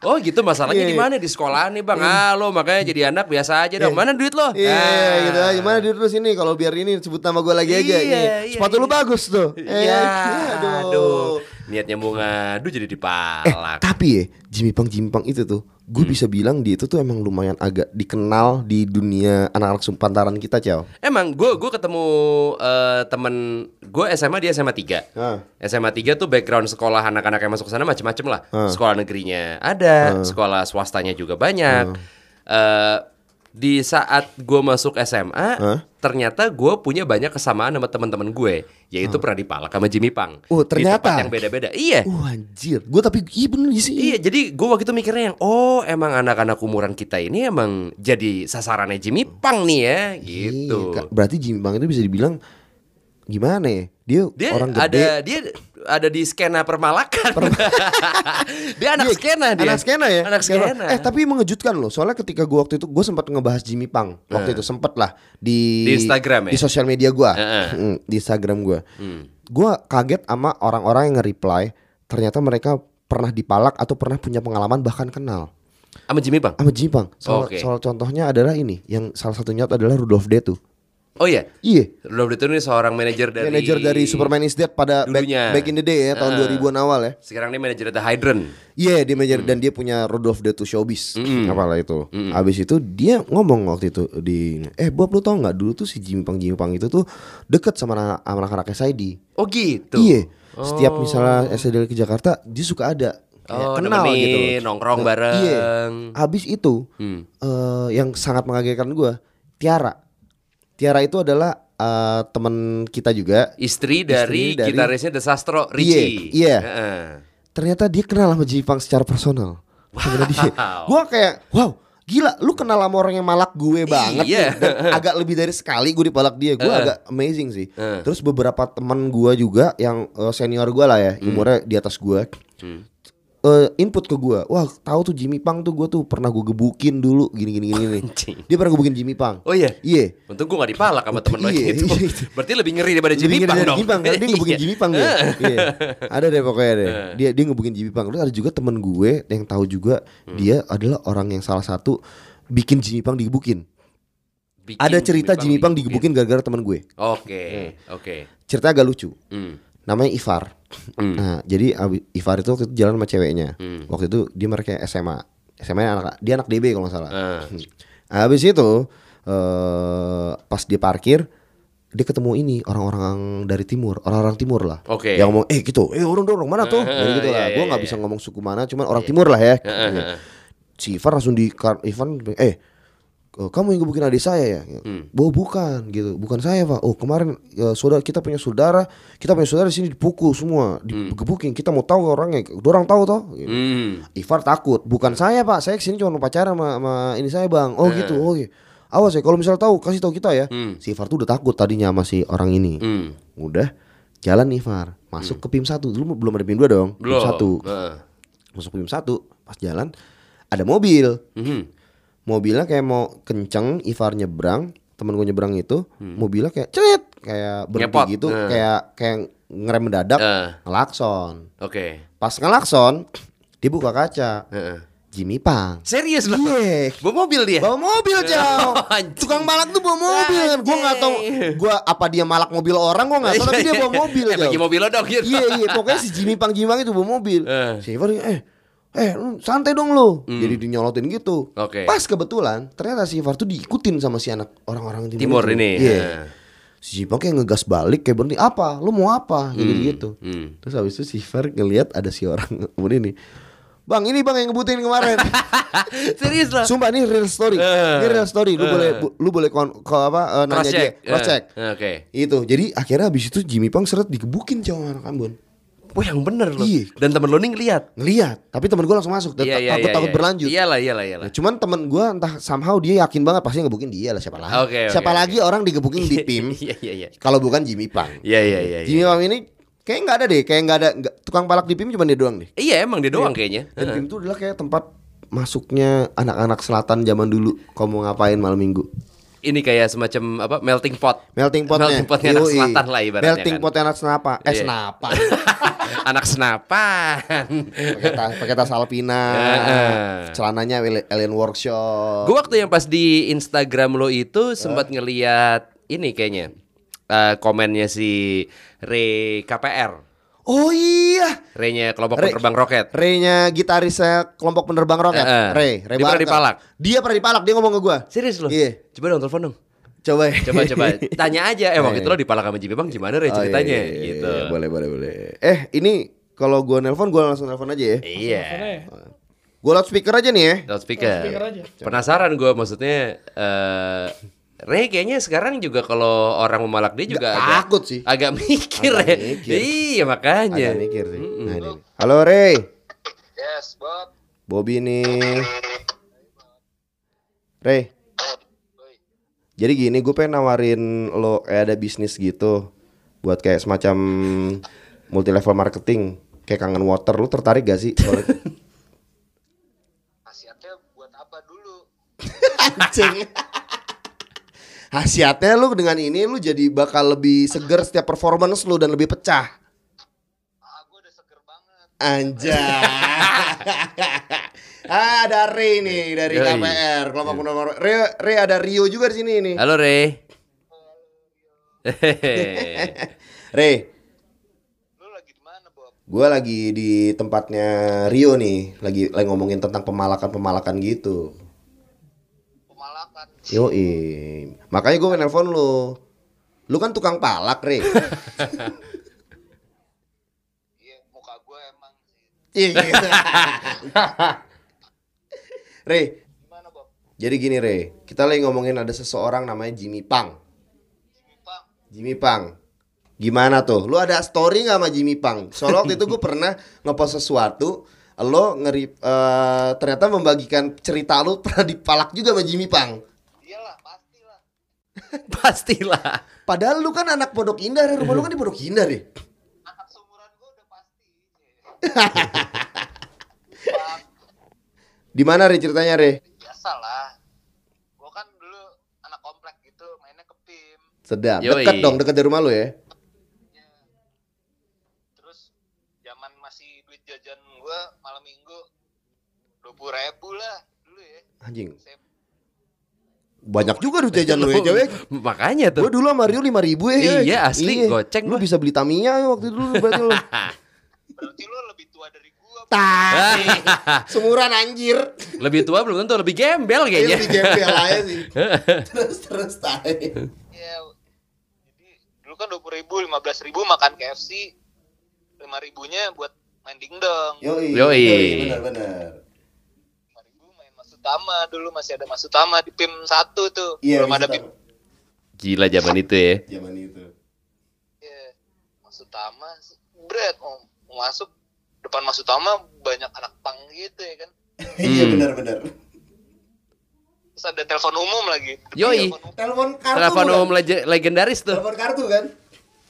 B: oh gitu masalahnya
C: Iya,
B: di
C: iya.
B: mana di sekolah nih bang ah lo makanya jadi anak biasa aja dong
C: Iya.
B: mana duit lo
C: Iya,
B: Ah.
C: gitu aja. Gimana dia terus ini kalau biar ini sebut nama gue lagi aja.
B: Iya,
C: Iya,
B: iya,
C: Sepatu lu
B: iya.
C: bagus tuh. Eh, *laughs*
B: Iya,
C: aduh.
B: aduh. Niatnya mau ngadu jadi
C: Eh,
B: dipalak.
C: tapi ya Jimmy Pang Jimmy Pang itu tuh gue
B: Hmm.
C: bisa bilang dia itu tuh emang lumayan agak dikenal di dunia anak-anak sumpantaran kita Ciao
B: Emang gue gue ketemu eh, temen gue SMA dia SMA 3
C: Ah.
B: SMA 3 tuh background sekolah anak-anak yang masuk ke sana macem-macem lah
C: Ah.
B: Sekolah negerinya ada, sekolah swastanya juga banyak
C: Ah.
B: Eh, Di saat gue masuk SMA
C: Ah.
B: Ternyata gue punya banyak kesamaan sama teman-teman gue Yaitu Pradi Palak sama Jimmy Pang
C: Ah. Oh,
B: Di tempat
C: ternyata. Oh.
B: yang beda-beda Iya
C: Wah anjir Gue tapi iya bener sih
B: Iya, jadi gue waktu itu mikirnya yang oh emang anak-anak umuran kita ini emang jadi sasarannya Jimmy Pang nih ya gitu.
C: Iya, Kak. Berarti Jimmy Bang itu bisa dibilang Gimana ya Dia,
B: Dia
C: orang gede
B: ada dia ada di skena permalakan. *laughs* dia anak
C: Iya,
B: skena dia.
C: Anak skena ya.
B: Anak skena.
C: Eh tapi mengejutkan loh. Soalnya ketika gua waktu itu gue sempat ngebahas Jimmy Pang waktu itu sempet lah
B: Nah.
C: di
B: Di Instagram ya?
C: Di sosial media gua.
B: Heeh. Hmm.
C: Mm, di Instagram gua. Gua kaget sama orang-orang yang nge-reply ternyata mereka pernah dipalak atau pernah punya pengalaman bahkan kenal
B: sama Jimmy Pang.
C: sama Jimmy Pang. Soal,
B: Oke.
C: soal contohnya adalah ini, yang salah satunya adalah Rudolf Detu.
B: Oh iya.
C: Iya.
B: Lo itu nih seorang manajer dari
C: Manajer dari Superman is Dead pada back,
B: Dulunya.
C: back in the day ya tahun 2000-an awal ya.
B: Sekarang dia manajer The Hydran.
C: Iya dia manajer
B: Hmm.
C: dan dia punya Rudolf the Two Showbiz apalah itu. Habis itu dia ngomong waktu itu di eh Bob lu tau nggak dulu tuh si Jimmy Pang Jimmy Pang itu tuh deket sama anak- sama anak-anak SID.
B: Oh gitu.
C: Iya. Setiap misalnya SID ke Jakarta dia suka ada
B: Oh,
C: kayak kenal
B: nemenin,
C: gitu.
B: nongkrong
C: Nah,
B: bareng.
C: Iya. Habis itu
B: Hmm.
C: eh, yang sangat mengagetkan gua Tiara. Tiara itu adalah eh, teman kita juga.
B: Istri dari,
C: dari-
B: gitarisnya The Sastro Richie.
C: Iya, iya.
B: Heeh.
C: ternyata dia kenal sama Jimmy Pang secara personal. Wow. Dia. Gua kayak wow, gila lu kenal sama orang yang malak gue banget
B: Iya. Eh.
C: nih.
B: *laughs*
C: Dan agak lebih dari sekali gue dipalak dia. Gue agak amazing sih. Terus beberapa teman gua juga yang eh, senior gua lah ya,
B: Hmm.
C: umurnya di atas gua. eh, input ke gua wah tahu tuh Jimmy Pang tuh gua tuh pernah gue gebukin dulu gini gini gini nih.
B: Anjing.
C: dia pernah gebukin Jimmy Pang
B: Oh iya.
C: iya
B: Untung gue gak dipalak sama temen lo
C: Iya,
B: itu.
C: iya, itu.
B: Berarti lebih ngeri daripada
C: Lebih
B: Jimmy
C: ngeri
B: Pang
C: dari
B: dong.
C: Jimmy Pang, karena
B: *laughs*
C: dia ngebukin
B: Iya. Eh.
C: Jimmy Pang dia. Iya. Ada deh pokoknya deh. Dia dia ngebukin Jimmy Pang. Terus ada juga temen gue yang tahu juga
B: Hmm.
C: dia adalah orang yang salah satu bikin Jimmy Pang digebukin.
B: Bikin Iya.
C: Ada cerita Jimmy Pang digebukin gara-gara temen gue.
B: Oke, oke.
C: Cerita agak lucu.
B: Hmm.
C: Namanya Ivar. Nah, jadi abi- Ivar itu waktu itu jalan sama ceweknya.
B: Hmm.
C: Waktu itu dia mereka SMA. SMA -nya anak dia anak DB kalau nggak salah.
B: Eh.
C: Habis itu eh pas dia parkir dia ketemu ini orang-orang dari timur, orang-orang timur lah.
B: Oke.
C: Yang ngomong eh gitu, eh orang dorong mana tuh? Jadi
B: *laughs*
C: gitu lah.
B: iya,
C: Gua
B: iya,
C: nggak bisa ngomong suku mana, cuman orang timur lah
B: *laughs*
C: ya.
B: Heeh, heeh.
C: Si Ivan langsung di kar- Ivan eh eh, kamu yang gebukin adik saya ya?
B: Hmm.
C: Oh bukan gitu, bukan saya pak. Oh kemarin eh, saudara kita punya saudara, kita punya saudara di sini dipukul semua, digebukin. Kita mau tahu orangnya, dorong tahu toh? Gitu.
B: Hmm.
C: Ivar takut, bukan saya pak, saya kesini cuma mau pacaran sama, sama ini saya bang.
B: Eh.
C: Oh gitu, oke. Awas ya, kalau misal tahu kasih tahu kita ya. Si Ivar tuh udah takut tadinya sama si orang ini.
B: Hmm.
C: Udah jalan nih Ivar, masuk ke PIM 1 dulu belum ada PIM 2 dong.
B: Belum. Eh.
C: PIM 1.
B: Heeh.
C: Masuk PIM 1, pas jalan ada mobil.
B: Mhm.
C: Mobilnya kayak mau kenceng, Ivar nyebrang, temen gue nyebrang itu, mobilnya kayak cerit, kayak berhenti
B: Ngepot.
C: gitu,
B: Hmm. Eh.
C: kayak kayak ngerem mendadak,
B: Eh.
C: ngelakson.
B: Oke.
C: Pas ngelakson, *clears throat* dia buka kaca.
B: Heeh.
C: Jimmy Pang.
B: Serius lo?
C: Iya.
B: Bawa mobil dia? *laughs*
C: Bawa mobil jauh.
B: Oh, anjing.
C: Tukang balak tuh bawa mobil. Gua nggak tahu.
B: Anjing.
C: Gua apa dia malak mobil orang? Gua nggak tahu. Tapi dia
B: *laughs*
C: bawa mobil
B: Eh, bagi
C: jauh.
B: mobil lo dong gitu.
C: Iya iya. Pokoknya si Jimmy Pang Jimmy Pang itu bawa mobil.
B: Eh. Hmm.
C: Si Ivan eh eh lu santai dong lo. Jadi dinyolotin gitu.
B: Oke.
C: Pas kebetulan ternyata si Ivar tuh diikutin sama si anak orang-orang timur,
B: Timur
C: itu.
B: ini. Eh.
C: Iya.
B: Heeh.
C: Si Jimmy Pang kayak ngegas balik kayak berhenti apa? Lu mau apa? Gitu gitu.
B: Hmm.
C: Terus habis itu si Ivar ngelihat ada si orang *laughs* kemudian ini. Bang ini bang yang
B: *laughs*
C: ngebutin kemarin.
B: Serius lo?
C: Sumpah ini real story.
B: Eh.
C: ini real story. Lu boleh bu- lu boleh kon, ko- apa eh, nanya
B: Cross check.
C: dia, cross check.
B: Eh, Oke.
C: Itu. Jadi akhirnya habis itu Jimmy Pang seret digebukin cowok anak Ambon.
B: Wah yang bener lo.
C: Iya.
B: Dan temen lo nih ngeliat.
C: Ngeliat, tapi temen gue langsung masuk.
B: Iya,
C: Takut
B: iya,
C: takut,
B: iya, iya.
C: berlanjut.
B: Iyalah, iyalah, iyalah.
C: Nah, cuman temen gue entah somehow dia yakin banget pasti ngebukin dia lah siapa lagi.
B: Oke, oke,
C: siapa
B: oke.
C: lagi orang digebukin di PIM
B: *laughs* Iya, iya, iya.
C: kalau bukan Jimmy Pang.
B: Iya, iya, iya. iya.
C: Jimmy Pang ini kayak nggak ada deh, kayak nggak ada nggak- tukang palak di PIM cuma dia doang deh.
B: Iya emang dia doang kayaknya.
C: Dan PIM itu adalah kayak tempat masuknya anak-anak selatan zaman dulu. Kau mau ngapain malam minggu?
B: ini kayak semacam apa melting pot
C: Melting potnya
B: melting potnya anak
C: Yoi.
B: selatan lah ibaratnya
C: Melting
B: kan.
C: potnya anak senapa Eh
B: Iya.
C: senapa
B: *laughs* anak senapan
C: Pakai tas, pakai tas Alpina
B: Heeh.
C: Celananya Alien- Alien Workshop
B: gue waktu yang pas di Instagram lo itu sempat ngeliat ini kayaknya eh, komennya si Re KPR
C: Oh iya.
B: Renya kelompok
C: Re-
B: penerbang roket.
C: Raynya gitarisnya kelompok penerbang ya? roket.
B: Eh, eh.
C: Ray, Ray
B: Dia pernah
C: Barker.
B: dipalak.
C: Dia pernah dipalak. Dia ngomong ke gua.
B: Serius lo?
C: Iya.
B: Coba dong telepon dong.
C: Coba.
B: Coba
C: *laughs*
B: coba tanya aja. Eh waktu
C: Eh.
B: itu lo dipalak sama Jimmy Bang gimana Re
C: Oh,
B: ceritanya
C: iya, iya,
B: gitu.
C: iya, boleh boleh boleh. Eh ini kalau gua nelpon gua langsung telepon aja ya.
B: Iya.
C: Gua loudspeaker aja nih ya.
B: Loudspeaker.
A: Loudspeaker aja.
B: Penasaran gue maksudnya eh Re kayaknya sekarang juga kalau orang memalak dia juga
C: Nggak,
B: agak,
C: takut sih.
B: Agak mikir
C: Agak
B: ya.
C: mikir.
B: Iya makanya.
C: Agak mikir sih. Nah, ini. Halo Ray,
D: Yes, Bob.
C: Bobby nih. Ray, jadi gini gue pengen nawarin lo kayak ada bisnis gitu buat kayak semacam multi level marketing kayak kangen water lu tertarik gak sih? Kalau-
D: Nasihatnya buat apa dulu?
C: Anjing. Hasiatnya lu dengan ini lu jadi bakal lebih seger setiap performance lu dan lebih pecah.
D: Ah, gue udah seger banget.
C: Anjay. *laughs* ah, ada Ray nih dari
B: Yoi.
C: KPR, kelompok nomor Ray, Ray ada Rio juga di sini nih.
B: Halo Re. *laughs* Hehehe.
C: Ray,
D: Lu lagi di mana, Bob?
C: gue lagi di tempatnya Rio nih, lagi lagi ngomongin tentang pemalakan-pemalakan gitu.
D: Pemalakan.
C: Yoi. Makanya gue nelpon lu. Lu kan tukang palak, Ray.
D: *laughs* Iya, muka gue emang sih.
C: Iya,
D: *laughs*
C: gitu. Ray,
D: Gimana, Bob?
C: jadi gini Ray, kita lagi ngomongin ada seseorang namanya Jimmy Pang.
D: Bang,
C: Jimmy Pang. Gimana tuh? Lu ada story nggak sama Jimmy Pang? Soalnya waktu itu
B: *laughs*
C: gue pernah ngepost sesuatu, lo ngeri eh, ternyata membagikan cerita lu pernah dipalak juga sama Jimmy Pang.
D: iyalah, pastilah.
B: Pastilah.
C: Padahal lu kan anak Pondok Indah, Re. rumah lu kan di Pondok Indah deh.
D: Anak seumuran gue udah pasti.
C: *laughs* Di mana Re ceritanya Re?
D: Biasalah. Gue kan dulu anak komplek gitu, mainnya ke PIM.
C: Sedap.
B: Yoi.
C: Dekat dong, dekat dari rumah lu ya.
D: Ya. Terus zaman masih duit jajan gue malam minggu 20 ribu lah dulu ya.
C: Anjing.
D: Saya
C: Banyak juga duit jajan lu ya, Jawa.
B: *laughs* Makanya
C: Gue
B: tuh.
C: dulu sama Rio 5 ribu ya. Jawa.
B: Iya, asli, goceng
C: Lu
B: gua.
C: bisa beli Tamiya ya, waktu dulu berarti
B: *laughs*
C: lu.
D: berarti lu lebih tua dari gue.
C: Tai. Semuran anjir.
B: Lebih tua belum tentu lebih gembel kayaknya.
C: Iya di gembel aja
B: *laughs*
C: sih. terus terus tai.
D: Iya. Jadi dulu kan dua puluh ribu, lima belas ribu makan KFC, lima ribunya buat main dingdong,
C: Yoi.
B: Yoi.
C: Benar benar.
D: lima ribu main Masutama dulu masih ada Masutama di PIM satu tuh,
C: Iya,
D: belum ada
C: bisa
D: PIM.
C: tahu.
B: Gila zaman itu ya.
C: zaman itu. *laughs*
D: Iya. Masutama, bret, mau mau masuk depan Masutama banyak anak pang gitu ya kan.
C: Iya benar benar.
D: Terus ada telepon umum lagi.
B: Yoi.
D: Telepon umum.
C: Telepon kartu.
B: Telepon
C: bukan?
B: umum lege- legendaris tuh.
C: Telepon kartu kan?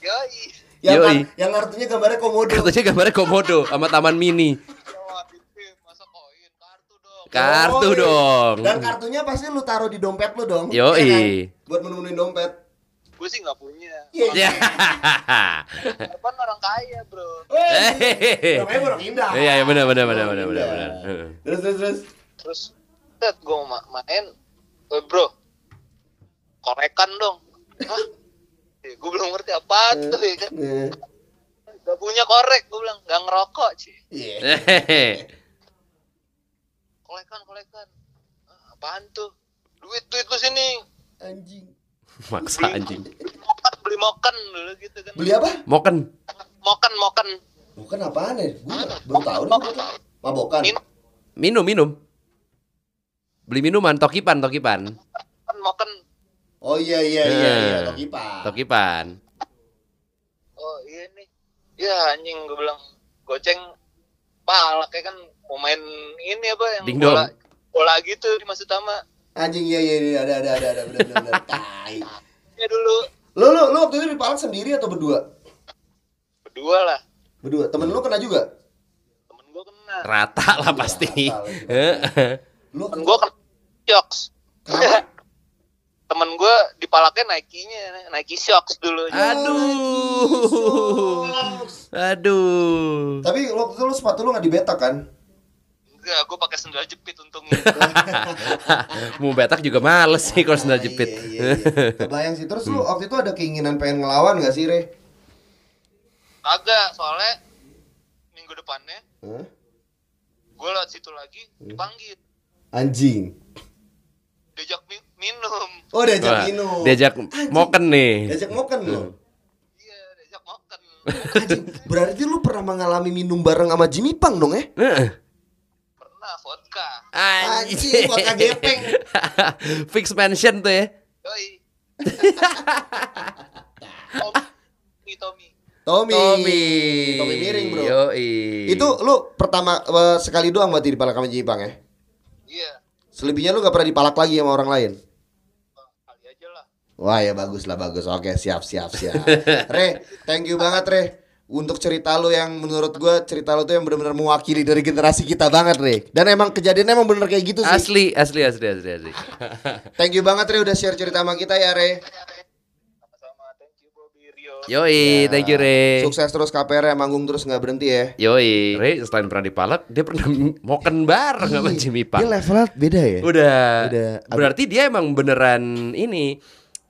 D: Yoi.
C: Yang
B: Yoi.
C: kar- yang kartunya gambarnya komodo.
B: Kartunya gambarnya komodo sama taman mini.
D: Wah, di PIM, "Eh, masa koin kartu dong.
B: Kartu
C: Yoi.
B: dong.
C: Dan kartunya pasti lu taruh di dompet lu dong.
B: Yoi.
C: Iya kan? Buat menemuin dompet.
D: Gue sih nggak punya.
B: *laughs*
C: Iya.
B: Ya.
D: Telepon orang kaya bro.
B: Hehehe.
C: Woi, namanya orang Eh, indah.
B: Eh. Iya, iya, benar, benar, benar,
C: Orang
B: benar, benar,
C: indah.
B: benar.
C: Terus terus terus.
D: terus set gue main eh, bro korekan dong Hah? *laughs* gue belum ngerti apa tuh ya kan
C: Nah,
D: gak punya korek gue bilang gak ngerokok sih
C: Iya.
B: Eh. Hehehe.
D: korekan korekan "Ah, apaan tuh duit duit lu sini
C: Anjing.
B: *laughs* Maksa anjing.
D: beli moken beli moken dulu gitu kan
C: Beli apa?
B: Moken.
D: moken moken
C: Bukan apaan ya? Gue belum tahu nih. Mabokan.
D: Minum.
B: Minum, minum. Beli minuman tokipan, tokipan.
D: moken moken
C: Oh iya iya iya
B: Eh.
C: iya, Tokipa.
B: Tokipan.
D: oh iya nih ya anjing gue bilang goceng palak ya kan mau main ini apa yang
B: Ding
D: bola
B: dong.
D: bola gitu di masjid utama
C: Anjing iya iya iya ada ada ada ada benar benar benar tai.
D: ya dulu
C: Lo lo lo waktu itu dipalak sendiri atau berdua?
D: berdua lah
C: Berdua. Temen lo kena juga?
D: temen gue kena
B: Rata
C: Iya,
B: lah pasti. Eh, Heeh.
C: Lo
D: temen gue kena shocks
C: Kenapa?
D: *laughs* temen gue dipalaknya Nike-nya Nike shocks dulu
B: Aduh. Aduh. *laughs*
C: Tapi lo waktu itu lo sepatu lo nggak dibetak kan?
D: enggak gue pakai sendal jepit untungnya
B: *laughs* Mau betak juga males sih kalau sendal
C: Ah,
B: jepit. Hmm.
C: Iya, iya, iya. Kebayang sih. Terus lo waktu itu ada keinginan pengen ngelawan gak sih, Re?
E: Kagak, soalnya minggu depannya
C: Hah?
E: gue lewat situ lagi
B: Iya.
E: dipanggil,
C: Anjing.
E: diajak mi- minum,
C: Oh, diajak
B: Wah,
C: minum.
B: diajak Hmm. moken nih.
C: Diajak moken lo.
E: iya diajak
B: *laughs*
E: makan.
C: Anjing, berarti lu pernah mengalami minum bareng sama Jimmy Pang dong ya?
B: Heeh.
E: Pernah vodka,
C: Anjing, vodka
B: *laughs*
C: gepeng.
B: Eh. Fix mention tuh ya.
E: doi. Tommy, Tommy,
C: Tommy.
B: Tommy.
C: Tommy miring, Bro.
B: Yoi.
C: Itu lu pertama eh, sekali doang berarti dipalak sama Jimmy Pang ya?
E: iya
C: Selebihnya lu gak pernah dipalak lagi sama orang lain?
E: kali aja lah.
C: Wah ya bagus lah bagus. Oke siap siap
B: *laughs*
C: siap. Re, thank you banget Re untuk cerita lu yang menurut gua cerita lu tuh yang benar-benar mewakili dari generasi kita banget Re. Dan emang kejadiannya emang bener kayak gitu sih.
B: Asli, asli, asli, asli, asli.
C: Thank you banget Re udah share cerita sama kita ya Re.
E: Sama-sama, thank you Bobby Rio.
B: Yoi, thank you Re.
C: Sukses terus KPR ya manggung terus nggak berhenti ya.
B: Yoi, Re selain pernah dipalak, dia pernah moken bareng sama Jimmy Pang.
C: Dia levelnya beda ya.
B: Udah.
C: Udah.
B: Berarti dia emang beneran ini.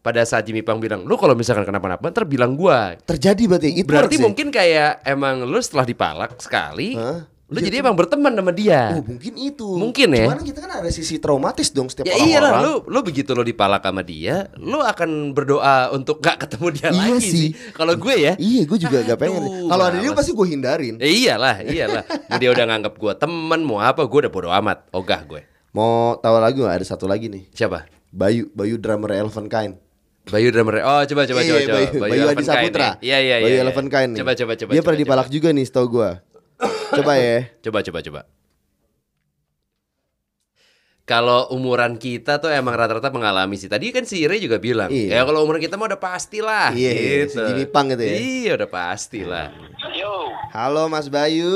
B: Pada saat Jimmy Pang bilang, lu kalau misalkan kenapa-napa ntar bilang gua.
C: Terjadi berarti itu
B: Berarti mungkin kayak emang lu setelah dipalak sekali,
C: Hah?
B: lu jadi emang berteman sama dia.
C: Oh, mungkin itu.
B: Mungkin ya.
C: Cuman kita kan ada sisi traumatis dong setiap
B: Ya
C: orang.
B: iyalah lu lu begitu lu dipalak sama dia, lu akan berdoa untuk gak ketemu dia
C: Iya
B: lagi
C: sih.
B: sih. Kalau gue ya.
C: Iya, gue juga gak pengen.
B: Aduh,
C: Kalau ada dia
B: males.
C: pasti gue hindarin.
B: Ya iyalah, iyalah. dia udah nganggap gua temen mau apa, gua udah bodo amat. Ogah gue.
C: Mau tahu lagi nggak? Ada satu lagi nih.
B: Siapa?
C: Bayu, Bayu drummer Eleven Kind.
B: Bayu drummer. Oh, coba coba
C: Iya,
B: coba coba.
C: Bayu, Bayu Adi
B: Eleven Kind
C: Saputra.
B: ya. Iya iya iya.
C: Bayu
B: iya.
C: Eleven Kind nih.
B: Coba coba coba.
C: Dia
B: coba,
C: pernah
B: coba.
C: dipalak juga nih, setau gue. Coba ya.
B: Coba coba coba. Kalau umuran kita tuh emang rata-rata mengalami sih. Tadi kan si Ire juga bilang,
C: Iya.
B: ya kalau umuran kita mah udah pastilah.
C: Iya, iya,
B: gitu.
C: si Jimmy Pang gitu ya.
B: Iya, udah pastilah.
E: Yo,
C: Halo Mas Bayu.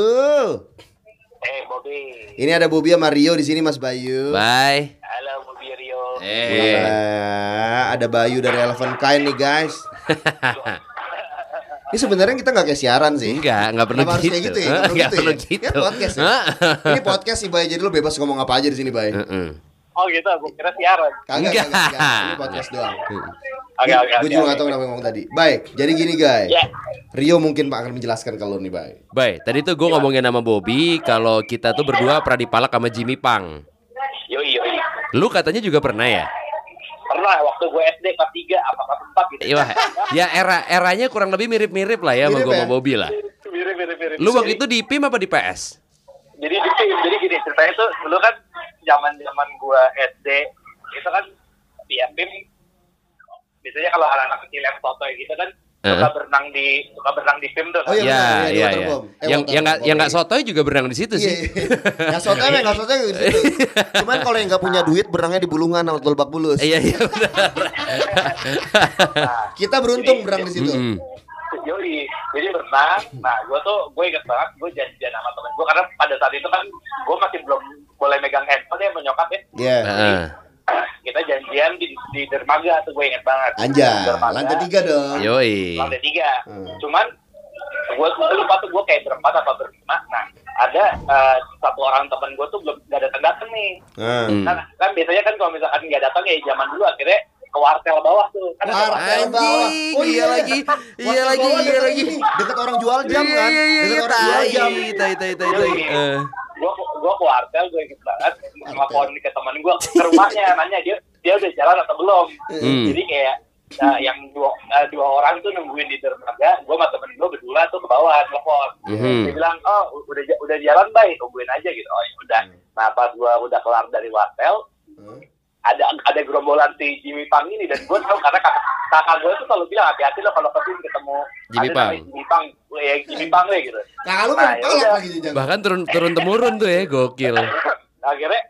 E: eh Bobby.
C: Ini ada Bobi sama Rio di sini Mas Bayu.
B: Bye.
E: Halo Bobby Rio.
C: Iya.
B: Eh.
C: Wah, ada Bayu dari Eleven Kind nih
B: *laughs*
C: guys. Ini sebenarnya kita nggak kayak siaran sih.
B: Enggak, enggak perlu
C: Kenapa harus
B: gitu.
C: kayak gitu ya?
B: Hah? Enggak perlu
C: ya?
B: gitu.
C: Kan podcast ya? Ini podcast sih, Bay. Jadi lu bebas ngomong apa aja di sini, Bay.
B: Heeh.
E: Oh gitu, aku kira siaran.
C: Kagak,
B: Enggak.
C: kagak, kagak. Ini podcast doang.
E: Oke oke.
C: Gue
E: oke,
C: juga
E: oke.
C: nggak tahu kenapa ngomong tadi. Baik, jadi gini, guys.
E: Ya.
C: Rio mungkin Pak akan menjelaskan kalau nih, Bay.
B: Baik, tadi tuh gue
C: Iya.
B: ngomongin sama Bobby kalau kita tuh berdua pernah dipalak sama Jimmy Pang.
E: Yoi yoi.
B: Lu katanya juga pernah ya?
E: Pernah waktu gue SD kelas 3 apa kelas 4 gitu.
B: Iya, ya era eranya kurang lebih mirip-mirip lah ya sama
C: Mirip
B: gue
C: ya?
B: sama Bobby lah.
E: Mirip mirip mirip.
B: Lu waktu
E: Jadi-
B: itu di PIM apa di PS?
E: Jadi di tim, jadi gini ceritanya tuh dulu kan zaman-zaman gue SD itu kan di tim biasanya kalau anak-anak kecil yang foto gitu kan suka
B: Heeh.
E: berenang di suka berenang di tim tuh.
C: Oh, iya. benar, di
B: ya, ya.
C: Waterbomb. Eh,
B: Yang yang nggak
C: Waterbomb,
B: yang nggak
C: oke.
B: sotoy juga berenang di situ
C: Iya,
B: sih.
C: iya. Nggak sotoy, Bay. Nggak sotoy. nggak gitu. Cuman kalau yang nggak punya duit, berangnya di Bulungan atau Lebak Bulus.
B: *laughs* Iya iya benar.
C: *laughs* Kita beruntung berang di situ.
B: Iya. Mm-mm.
E: Yoi, jadi berenang. Nah, gue tuh gue inget banget gue janjian sama temen gue karena pada saat itu kan gue masih belum boleh megang handphone ya menyokap ya.
C: Iya.
B: Heeh.
E: Kita janjian di, di dermaga tuh gue inget banget.
C: Anjay,
E: Dermaga,
C: lantai tiga dong.
B: Yoi.
E: Lantai tiga.
C: Hmm.
E: Cuman gue gue lupa tuh gue kayak berempat apa berlima. Nah, ada eh, satu orang temen gue tuh belum gak datang datang nih.
C: Nah.
B: Hmm.
E: Kan, kan biasanya kan kalau misalkan nggak datang ya zaman dulu akhirnya ke wartel bawah tuh. Kan ada
C: Wartel
E: wartel.
B: Anjing,
C: bawah. Oh,
B: iya
C: iya.
B: lagi, iya
C: Waktu
B: lagi,
C: bawah
B: iya
C: deket
B: lagi.
C: ini, Deket orang jual
B: Iya
C: jam
B: iya
C: kan?
B: iya iya,
C: Deket orang jual
B: tai,
C: jam.
B: tai, tai, tai, tai. Eh.
E: gue gue Iya, ke wartel gue inget banget telepon ke teman gue ke rumahnya nanya dia dia udah jalan atau belum
B: Hmm.
E: jadi kayak nah, yang dua eh, dua orang tuh nungguin di dermaga gue sama temen gue berdua tuh ke bawah telepon
B: Mhm.
E: dia bilang oh u- udah ja- udah jalan baik tungguin aja gitu oh ya udah nah pas gue udah kelar dari wartel
C: Hmm.
E: ada ada gerombolan si Jimmy Pang ini dan gue tahu karena kakak, kakak gue tuh selalu bilang hati-hati lo kalau kesini ketemu
B: Jimmy
E: ada
B: Pang.
E: namanya Jimmy Pang ya Jimmy Pang deh gitu
C: Kakak lu
E: Nah,
C: kan palak
E: yaudah.
C: lagi di jam.
B: Bahkan turun turun temurun tuh ya, gokil.
E: *laughs* akhirnya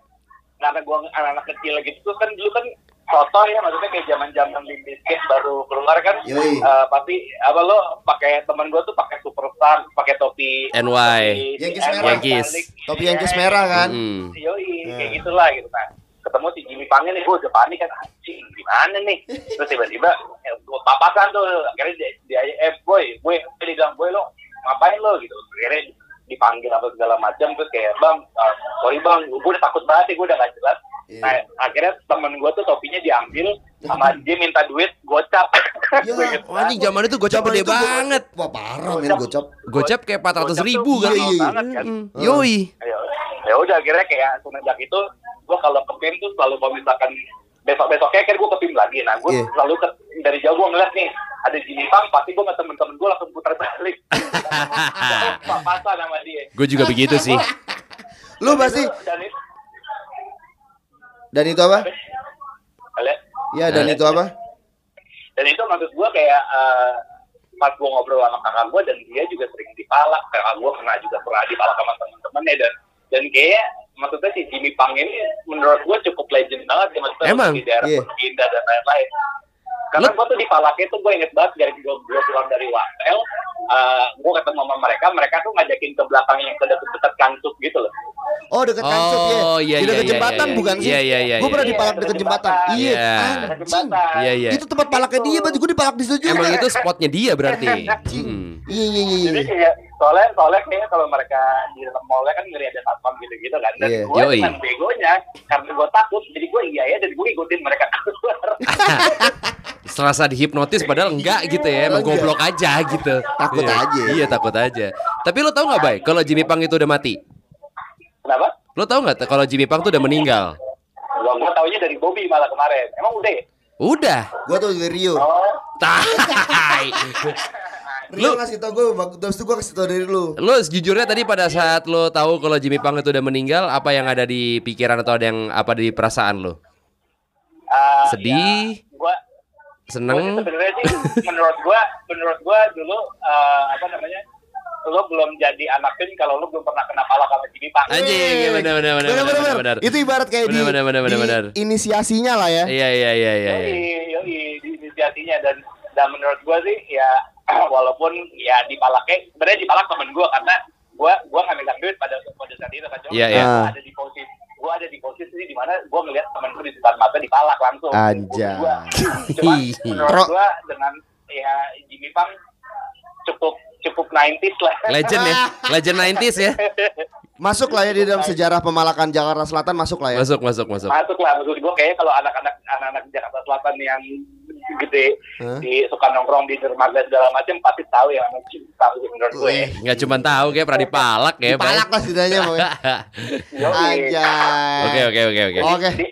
E: karena gua anak-anak kecil gitu tuh kan dulu kan kotor ya maksudnya kayak zaman zaman biskuit baru keluar kan
C: Yoi.
E: Eh, pasti apa lo pakai teman gua tuh pakai superstar pakai topi
B: NY.
E: topi-
C: Yankees
E: NY,
C: merah.
B: Yankees.
E: balik.
C: Topi yang
E: Iya,
C: kes merah kan?
B: Mm.
E: Yoi, kayak
C: Hmm.
E: gitulah gitu kan. Ketemu si Jimmy Pang nih, gue udah panik kan, anjing gimana nih? Terus tiba-tiba eh, gue papasan tuh, akhirnya dia, dia eh boy, boy, dia bilang boy lo ngapain lo gitu. Akhirnya dipanggil apa segala macam terus kayak bang, eh, sorry bang, gue udah takut banget nih, gue udah gak jelas.
C: Iya.
E: Nah, akhirnya temen gue tuh topinya diambil sama dia minta duit gocap.
C: Ya,
E: *laughs* Gua inget
B: Oh, anjing zaman itu gocap gede banget.
C: Wah parah men gocap.
B: Gocap kayak 400
E: Gocap
B: ribu
E: tuh
B: kan.
E: mahal banget kan.
B: Mm-mm. Yoi.
E: ya ya udah akhirnya kayak semenjak itu gue kalau ke PIM tuh selalu kalau misalkan besok besoknya kan gue ke PIM lagi nah gue
C: Iya.
E: selalu ke, dari jauh gue ngeliat nih ada Jimmy Pang pasti gue sama temen-temen gue langsung putar
C: *laughs*
E: balik papasan sama dia
B: Gue juga begitu sih.
C: Lu pasti
E: dan itu
C: dan itu apa?
E: Ale-
C: Ya
B: Eh.
C: dan itu apa?
E: dan itu maksud gue kayak eh, pas gue ngobrol sama kakak gue dan dia juga sering dipalak kakak gue pernah juga pernah dipalak sama temen-temennya dan dan kayak maksudnya si Jimmy Pang ini menurut gue cukup legend banget ya maksudnya
B: Emang?
E: di daerah
C: Iya.
E: Pondok Indah dan lain-lain karena
B: Lu-
E: gue tuh dipalaknya tuh gue inget banget dari gue gue pulang dari Wantel eh gue ketemu sama mereka mereka tuh ngajakin ke belakang yang ke deket-deket kansuk gitu loh
C: Oh dekat kancup ya.
B: Oh, iya,
C: Di
B: iya,
C: dekat
B: iya,
C: jembatan
B: iya,
C: bukan
B: iya,
C: sih?
B: iya, iya, iya,
C: Gue pernah
B: iya.
C: dipalak dekat jembatan. Iya.
B: Iya.
E: Dekat
C: Anjing. Gitu.
E: jembatan.
B: Iya, iya.
C: Itu tempat palaknya dia, Bang. Gue dipalak di situ juga.
B: Emang gitu? itu spotnya dia berarti.
C: Anjing.
B: Hmm.
C: Iya iya iya,
E: Jadi
C: iya.
E: kayak soalnya soalnya kayaknya kalau mereka di dalam mallnya kan ngeri ada satpam gitu-gitu kan. Dan
C: Iya.
E: gue
B: Yoi.
E: cuman begonya karena gue takut jadi gue iya ya dan gue ikutin mereka *laughs* keluar.
B: Serasa dihipnotis padahal enggak gitu ya, emang
C: Enggak.
B: goblok aja gitu.
C: Takut
B: Iya.
C: aja.
B: Iya, takut aja. Tapi lo tau nggak, Bay, kalau Jimmy Pang itu udah mati?
E: Kenapa?
B: Lo tau nggak t- kalau Jimmy Pang tuh udah meninggal?
E: Gue gue taunya dari Bobby malah kemarin. Emang udah ya?
B: Udah.
C: Gue tuh dari Rio.
E: Oh,
B: Tai.
C: Rio
B: Lu-
C: ngasih tau gue, terus itu gue kasih tau dari lu.
B: Lo sejujurnya tadi pada saat lo tahu kalau Jimmy Pang itu udah meninggal, apa yang ada di pikiran atau ada yang apa di perasaan lo?
E: eh,
B: Sedih? Hmm.
E: Ya, gue Gua sih
B: Seneng?
E: sebenarnya sih menurut gua menurut gua dulu eh, apa namanya lo belum jadi anak pin kalau lo belum pernah kena pala sama Jimmy Pang.
B: Anjing, iya, benar, benar, benar, benar, benar.
C: Itu ibarat kayak di,
B: Benar, benar, benar,
C: di
B: benar.
C: inisiasinya lah ya.
B: Iya, iya, iya, iya. iya.
E: Yoi, yoi, di inisiasinya dan dan menurut gue sih ya *clears throat* walaupun ya dipalaknya sebenarnya dipalak temen gue karena gue gue nggak megang duit pada pada saat itu kan cuma
B: Iya,
E: gua
B: iya.
E: ada di posisi gue ada di posisi di mana gue ngelihat temen gue di depan mata dipalak langsung
C: Anjay.
E: Gua- cuma menurut
C: Ro-
E: gue dengan ya Jimmy Pang cukup cukup 90s lah
B: Legend ya, legend 90s ya.
C: Masuk lah ya di dalam sejarah pemalakan Jakarta Selatan masuk lah ya.
B: Masuk, masuk, masuk.
E: masuk lah maksud gue kayaknya kalau anak-anak anak-anak di Jakarta Selatan yang gede
C: Hah?
E: di suka nongkrong di dermaga segala macam pasti tahu yang namanya cinta sih menurut ya. gue
C: Wih,
B: Nggak cuma tahu kayak pernah dipalak ya, Bay.
C: Dipalak lah setidaknya mau.
E: Yoi.
C: Aja.
B: *laughs* Oke, oke, oke, oke.
C: Oke.
E: di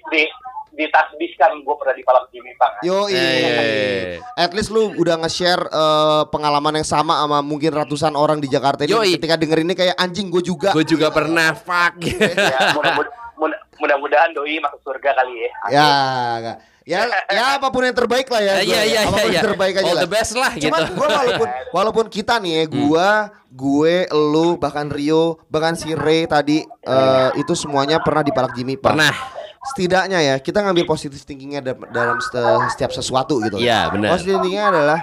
E: di ditasbihkan gue pernah dipalak di Mipang
C: Yo,
B: Eh.
C: at least lu udah nge-share eh, pengalaman yang sama sama mungkin ratusan orang di Jakarta ini.
B: Yoi.
C: Ketika denger ini kayak anjing gue juga.
B: Gue juga pernah fuck.
E: ya mudah-mudah- mudah- mudah-mudahan doi masuk surga kali ya
C: Ya, enggak. ya, ya apapun yang terbaik lah ya.
B: Iya,
C: gua.
B: iya, *laughs* iya,
C: apapun
B: iya.
C: yang terbaik aja
B: All
C: lah.
B: the best lah gitu. Hmm.
C: Cuman gua
B: *laughs*
C: walaupun walaupun kita nih ya, gua, gue, lu, bahkan Rio, bahkan si Ray tadi eh, itu semuanya pernah dipalak Jimmy Pak.
B: Pernah.
C: Setidaknya ya kita ngambil positif thinkingnya da- dalam seti- setiap sesuatu gitu.
B: Iya, benar.
C: Positif thinkingnya adalah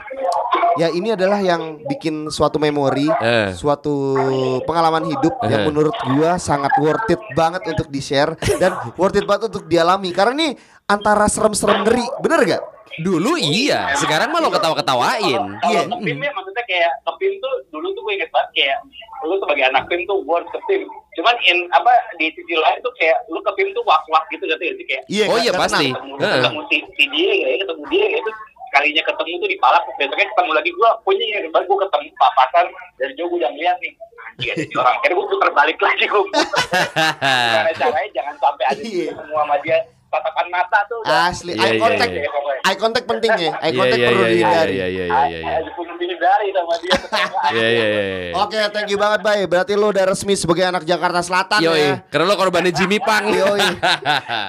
C: ya ini adalah yang bikin suatu memori,
B: Eh.
C: suatu pengalaman hidup yang
B: Eh.
C: menurut gua sangat worth it banget untuk di share dan
B: *laughs*
C: worth it banget untuk dialami karena ini antara serem-serem ngeri, bener gak?
B: Dulu iya, sekarang malah ketawa-ketawain.
E: Kalau
C: Iya.
E: ke PIM ya maksudnya kayak ke PIM tuh dulu tuh gue inget banget kayak lu sebagai anak PIM tuh gue ke PIM. Cuman in apa di sisi lain tuh kayak lu ke PIM tuh was-was gitu gitu sih kayak
B: Oh
C: nggak-
B: iya
C: nggak
B: pasti.
C: tenang.
E: ketemu
B: Heeh.
E: ketemu si, si dia ya, ketemu dia itu kalinya ketemu tuh dipalak besoknya ketemu lagi gue punya yang baru gue ketemu papasan dari jauh gue udah ngeliat nih anjing ada di orang akhirnya gue putar balik lagi
B: *laughs*
E: gue karena
C: Eh,
E: caranya jangan sampai ada di
C: Iya.
E: semua sama dia tatapan mata tuh
C: Asli,
B: Iya,
C: eye
B: iya,
C: contact,
B: iya.
E: pokoknya.
C: eye contact penting ya, eye
B: Iya,
C: contact
B: iya,
C: perlu
B: iya, iya,
C: dihindari.
B: iya, iya,
E: Ah,
B: iya, iya.
E: harus penuh dihindari sama
B: *laughs*
E: dia
B: Iya, iya, iya, iya.
C: Oke, thank you banget, Bay. Berarti lu udah resmi sebagai anak Jakarta Selatan
B: Yoi,
C: ya.
B: karena lo korbannya Jimmy Pang.
C: *laughs*
B: *laughs*
C: Yoi.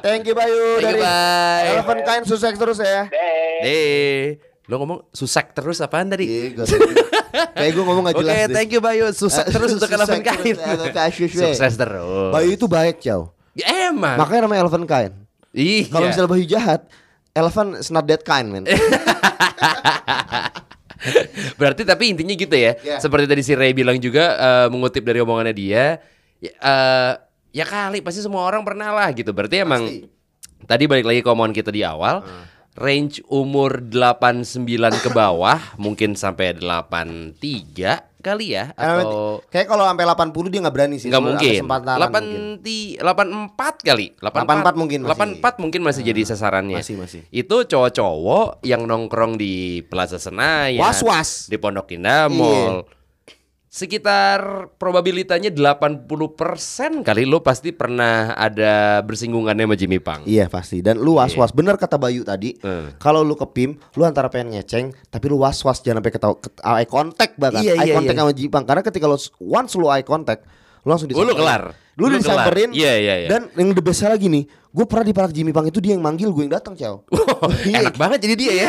C: Thank you, Bayu.
B: Thank you,
C: Dari
B: Bay.
C: Eleven Kind sukses terus ya.
E: Deh.
B: Eh, lo ngomong susek terus apaan tadi?
C: Iya, gua- Kayak gue ngomong gak
B: Oke,
C: jelas deh.
B: thank you Bayu. Susek
C: Eh,
B: terus untuk
C: susek
B: Eleven Kain.
C: terus, Eleven Kain, susek.
B: Sukses terus.
C: Bayu itu baik, Chow.
B: Ya, emang.
C: Makanya namanya Eleven Kind.
B: Iya. Eh,
C: Kalau misalnya Bayu jahat, Eleven is not that kind, man.
B: *laughs* Berarti tapi intinya gitu ya.
C: Iya.
B: Seperti tadi si Ray bilang juga eh, mengutip dari omongannya dia, ya, eh, ya kali pasti semua orang pernah lah gitu. Berarti emang tadi balik lagi ke omongan kita di awal,
C: Ah.
B: *laughs* range umur 89 ke bawah, mungkin sampai 83 kali ya
C: Karena
B: atau
C: kayak kalau sampai 80 dia nggak berani sih.
B: nggak
C: Cuma ada
B: mungkin.
C: kesempatan
B: Delapan
C: mungkin.
B: ti- delapan empat kali. Delapan
C: 84 mungkin masih. Ah,
B: Delapan empat mungkin masih jadi sasarannya.
C: masih, masih.
B: Itu cowok-cowok yang nongkrong di Plaza Senayan.
C: Was-was.
B: Di Pondok Indah Mall.
C: Iya.
B: Sekitar probabilitanya 80% kali lo pasti pernah ada bersinggungannya sama Jimmy Pang.
C: Iya pasti dan lu was-was bener kata Bayu tadi
B: Eh.
C: kalau lu ke PIM lu antara pengen ngeceng tapi lu was-was jangan sampai ketau ket- eye contact bahkan
B: Iya, iya,
C: eye contact
B: iya.
C: sama Jipang karena ketika lu once lu eye contact lu langsung
B: Oh, lu
C: disamperin
B: kelar.
C: lu,
B: Lu
C: disamperin
B: kelar. Iya, iya, iya.
C: dan yang the bestnya lagi nih gue pernah di park Jimmy Pang itu dia yang manggil gue yang datang ciao
B: Iya,
C: *laughs* Iya.
B: Enak banget jadi dia ya.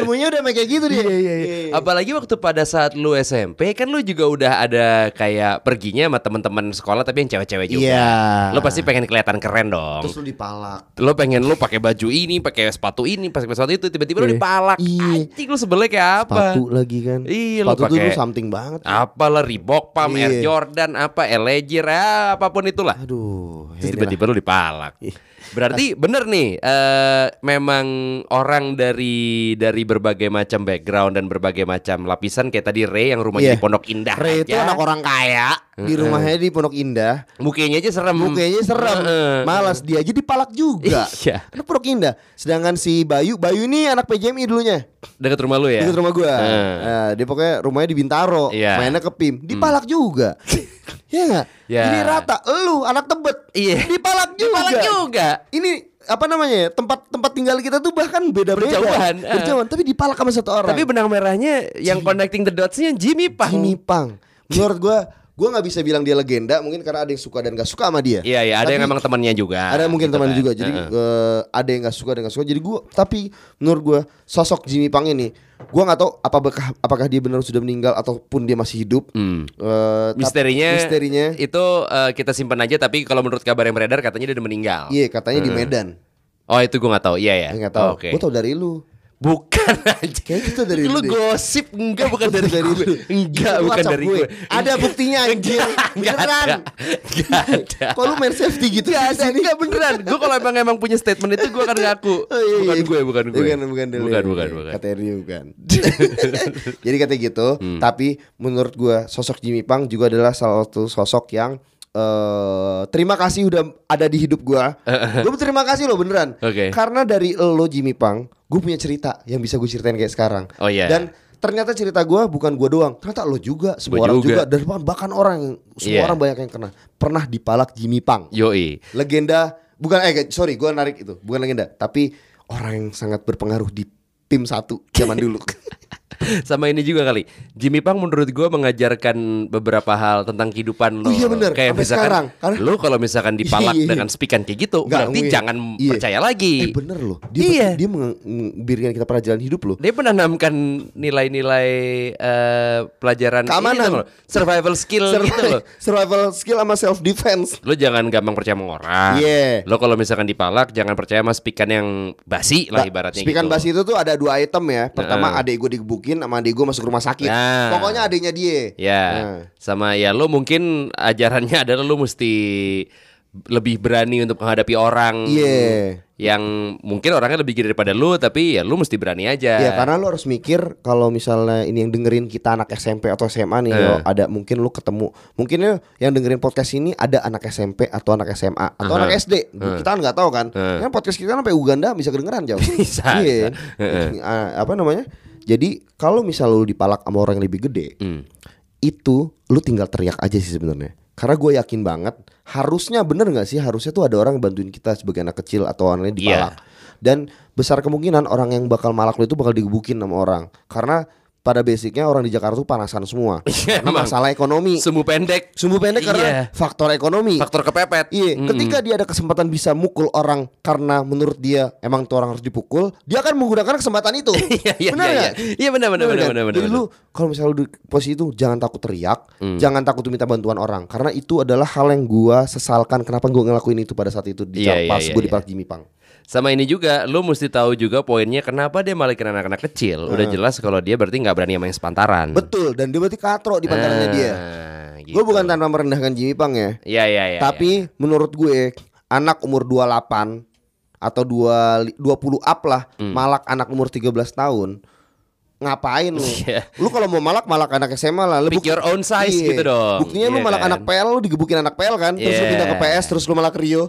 C: ilmunya udah kayak gitu
B: Iya,
C: dia
B: *laughs* Apalagi waktu pada saat lu SMP kan lu juga udah ada kayak perginya sama teman-teman sekolah tapi yang cewek-cewek juga.
C: Iya.
B: Lo pasti pengen kelihatan keren dong.
C: terus lu dipalak
B: lo pengen lu pakai baju ini, pakai sepatu ini, pakai sepatu itu, tiba-tiba lu
C: Iya.
B: dipalak.
C: Iya.
B: Anjing lu sebelnya kayak apa?
C: sepatu lagi kan
B: Iya, lu
C: sepatu tuh
B: pakai- Ah.
C: lu something banget
B: Apalah Reebok, Pam, Air
C: Iya.
B: Jordan, apa Eleger, ah, apapun itulah.
C: aduh
B: Terus
C: ya ini Iya, lah. Iya.
B: tiba-tiba lu dipalak. Berarti bener nih, eh, memang orang dari dari berbagai macam background dan berbagai macam lapisan kayak tadi Ray yang rumahnya
C: Iya.
B: di Pondok Indah.
C: Ray itu
B: aja.
C: anak orang kaya di rumahnya di Pondok Indah
B: mukanya aja serem.
C: Mukanya serem
B: Heeh.
C: Malas dia jadi palak juga
B: Iya.
C: Karena Pondok Indah Sedangkan si Bayu Bayu ini anak PJMI dulunya
B: Dekat rumah lu ya?
C: Di rumah gua
B: Heeh.
C: Nah, Dia pokoknya rumahnya di Bintaro
B: Iya.
C: Mainnya ke PIM Dipalak
B: *laughs*
C: juga Iya gak?
B: Ya.
C: Ini rata Lu anak tebet
B: Iya.
C: Dipalak juga
B: Dipalak juga.
C: Ini apa namanya ya, Tempat tempat tinggal kita tuh bahkan beda-beda
B: Berjauhan, eh.
C: *laughs* Berjauhan Tapi dipalak sama satu orang
B: Tapi benang merahnya yang connecting the dots-nya Jimmy Pang.
C: Jimmy Pang Menurut gua Gua gak bisa bilang dia legenda Mungkin karena ada yang suka dan gak suka sama dia
B: Iya iya ada
C: Tapi-
B: yang emang temannya juga.
C: ada mungkin
B: gitu kan.
C: teman juga jadi
B: Heeh.
C: eh, ada yang nggak suka ada yang nggak suka jadi gue tapi menurut gue sosok Jimmy Pang ini gue nggak tahu apa bekah- apakah dia benar sudah meninggal ataupun dia masih hidup
B: Hmm.
C: Eh, tapi-
B: misterinya
C: misterinya
B: itu eh, kita simpan aja tapi kalau menurut kabar yang beredar katanya dia udah meninggal.
C: iya katanya di Medan
B: Oh itu gue nggak tahu. Iya ya.
C: Gue nggak tahu
B: Oke.
C: gue tahu dari lu
B: Bukan aja.
C: Kayaknya itu dari
B: lu
C: lu deh.
B: gosip enggak bukan *laughs* dari,
C: dari
B: gue.
C: lu.
B: Enggak
C: Itu
B: bukan
C: WhatsApp
B: dari gue.
C: ada buktinya anjir
B: *laughs* Enggak ada.
C: beneran
B: Enggak ada.
C: kok lu main safety gitu
B: Enggak
C: sih
B: ada.
C: di sini?
B: Enggak beneran. Gue kalau emang emang punya statement itu gue akan ngaku.
C: Oh, iya,
B: bukan
C: iya.
B: gue, bukan gue.
C: Bukan, bukan, dari
B: bukan,
C: lu.
B: bukan, bukan.
C: Katanya dia
B: *laughs*
C: bukan. *laughs* Jadi katanya gitu,
B: Hmm.
C: tapi menurut gua sosok Jimmy Pang juga adalah salah satu sosok yang eh terima kasih udah ada di hidup gua.
B: *laughs*
C: Gua berterima kasih loh beneran.
B: Oke.
C: Karena dari lo Jimmy Pang, gue punya cerita yang bisa gue ceritain kayak sekarang.
B: Oh, iya.
C: Dan ternyata cerita gua bukan gua doang, ternyata lo juga,
B: Gua
C: semua orang
B: juga.
C: juga, dan bahkan- bahkan orang semua
B: Iya.
C: orang banyak yang kena pernah dipalak Jimmy Pang
B: Yoi.
C: legenda bukan eh sorry gue narik itu bukan legenda tapi orang yang sangat berpengaruh di tim satu zaman
B: *laughs*
C: dulu
B: Sama ini juga kali. Jimmy Pang menurut gue mengajarkan beberapa hal tentang kehidupan lo.
C: Oh, iya bener.
B: Kayak
C: Sampai
B: misalkan
C: sekarang. Karena-
B: lo kalau misalkan dipalak
C: Iya, iya, iya.
B: dengan spikan kayak gitu,
C: Nggak,
B: berarti
C: iya.
B: jangan
C: Iya.
B: percaya lagi.
C: eh bener loh dia
B: Iya.
C: dia menge- memberikan kita pelajaran hidup loh
B: Dia menanamkan nilai-nilai eh, pelajaran ini
C: Keamanan.
B: tuh loh, survival skill gitu
C: Survi-
B: loh.
C: *laughs* survival skill sama self defense
B: Lo jangan gampang percaya sama orang.
C: Iya.
B: Lo kalau misalkan dipalak jangan percaya sama spikan yang basi
C: Nah,
B: lah ibaratnya
C: Spikan
B: gitu.
C: basi itu tuh ada dua item ya Pertama
B: Heeh.
C: adek gue digebukin sama adek gue masuk rumah sakit
B: Nah.
C: Pokoknya adeknya dia
B: Ya,
C: Nah.
B: sama ya lo mungkin ajarannya *laughs* adalah lo mesti lebih berani untuk menghadapi orang
C: Iya.
B: yang mungkin orangnya lebih gede daripada lo, tapi ya lo mesti berani aja.
C: Ya karena lu harus mikir kalau misalnya ini yang dengerin kita anak SMP atau SMA nih
B: Iya.
C: lo ada mungkin lu ketemu mungkin ya yang dengerin podcast ini ada anak SMP atau anak SMA atau anak SD kita kan nggak tahu kan Kan podcast kita kan sampai Uganda bisa kedengeran jauh
B: *laughs* Bisa,
C: iya
B: bisa.
C: Ah, apa namanya jadi kalau misal lu dipalak sama orang yang lebih gede
B: Hmm.
C: itu lu tinggal teriak aja sih sebenarnya karena gue yakin banget harusnya bener nggak sih harusnya tuh ada orang yang bantuin kita sebagai anak kecil atau
B: Iya.
C: orangnya dipalak dan besar kemungkinan orang yang bakal malak lu itu bakal digebukin sama orang karena pada basicnya orang di Jakarta tuh panasan semua
B: *laughs* Iya,
C: Ini
B: emang.
C: masalah ekonomi
B: Sumbu pendek,
C: sumbu pendek karena
B: Iya.
C: faktor ekonomi
B: faktor kepepet.
C: Iya,
B: Mm-mm.
C: ketika dia ada kesempatan bisa mukul orang karena menurut dia emang tuh orang harus dipukul, dia akan menggunakan kesempatan itu.
B: *laughs* *laughs* Iya, iya,
C: Benar
B: iya,
C: nggak?
B: iya. Iya, benar, benar, benar,
C: kan?
B: benar, benar,
C: Jadi lu kalau misalnya lu di posisi itu jangan takut teriak,
B: Hmm.
C: jangan takut minta bantuan orang karena itu adalah hal yang gua sesalkan kenapa gua ngelakuin itu pada saat itu di
B: Iya, iya,
C: pas
B: iya,
C: gua di
B: iya.
C: Park Jimmy Pang.
B: Sama ini juga, lo mesti tahu juga poinnya kenapa dia malikin anak-anak kecil. Udah jelas kalau dia berarti nggak berani sama yang sepantaran.
C: Betul, dan dia berarti katro di pantarannya
B: Ah,
C: dia.
B: gitu.
C: Gua bukan tanpa merendahkan Jimmy Pang ya.
B: Iya, iya, iya.
C: Tapi menurut gue anak umur 28
B: Hmm.
C: atau 2 20 up lah malak anak umur 13 tahun ngapain lu?
B: *laughs* Iya.
C: Lu kalau mau malak malak anak SMA lah. Lu
B: Pick
C: bukti-
B: your own size
C: Iya.
B: gitu dong.
C: Buktinya
B: Iya
C: lu malak
B: kan?
C: anak PL lu digebukin anak PL kan. Terus lu
B: Iya.
C: pindah ke PS terus lu malak Rio.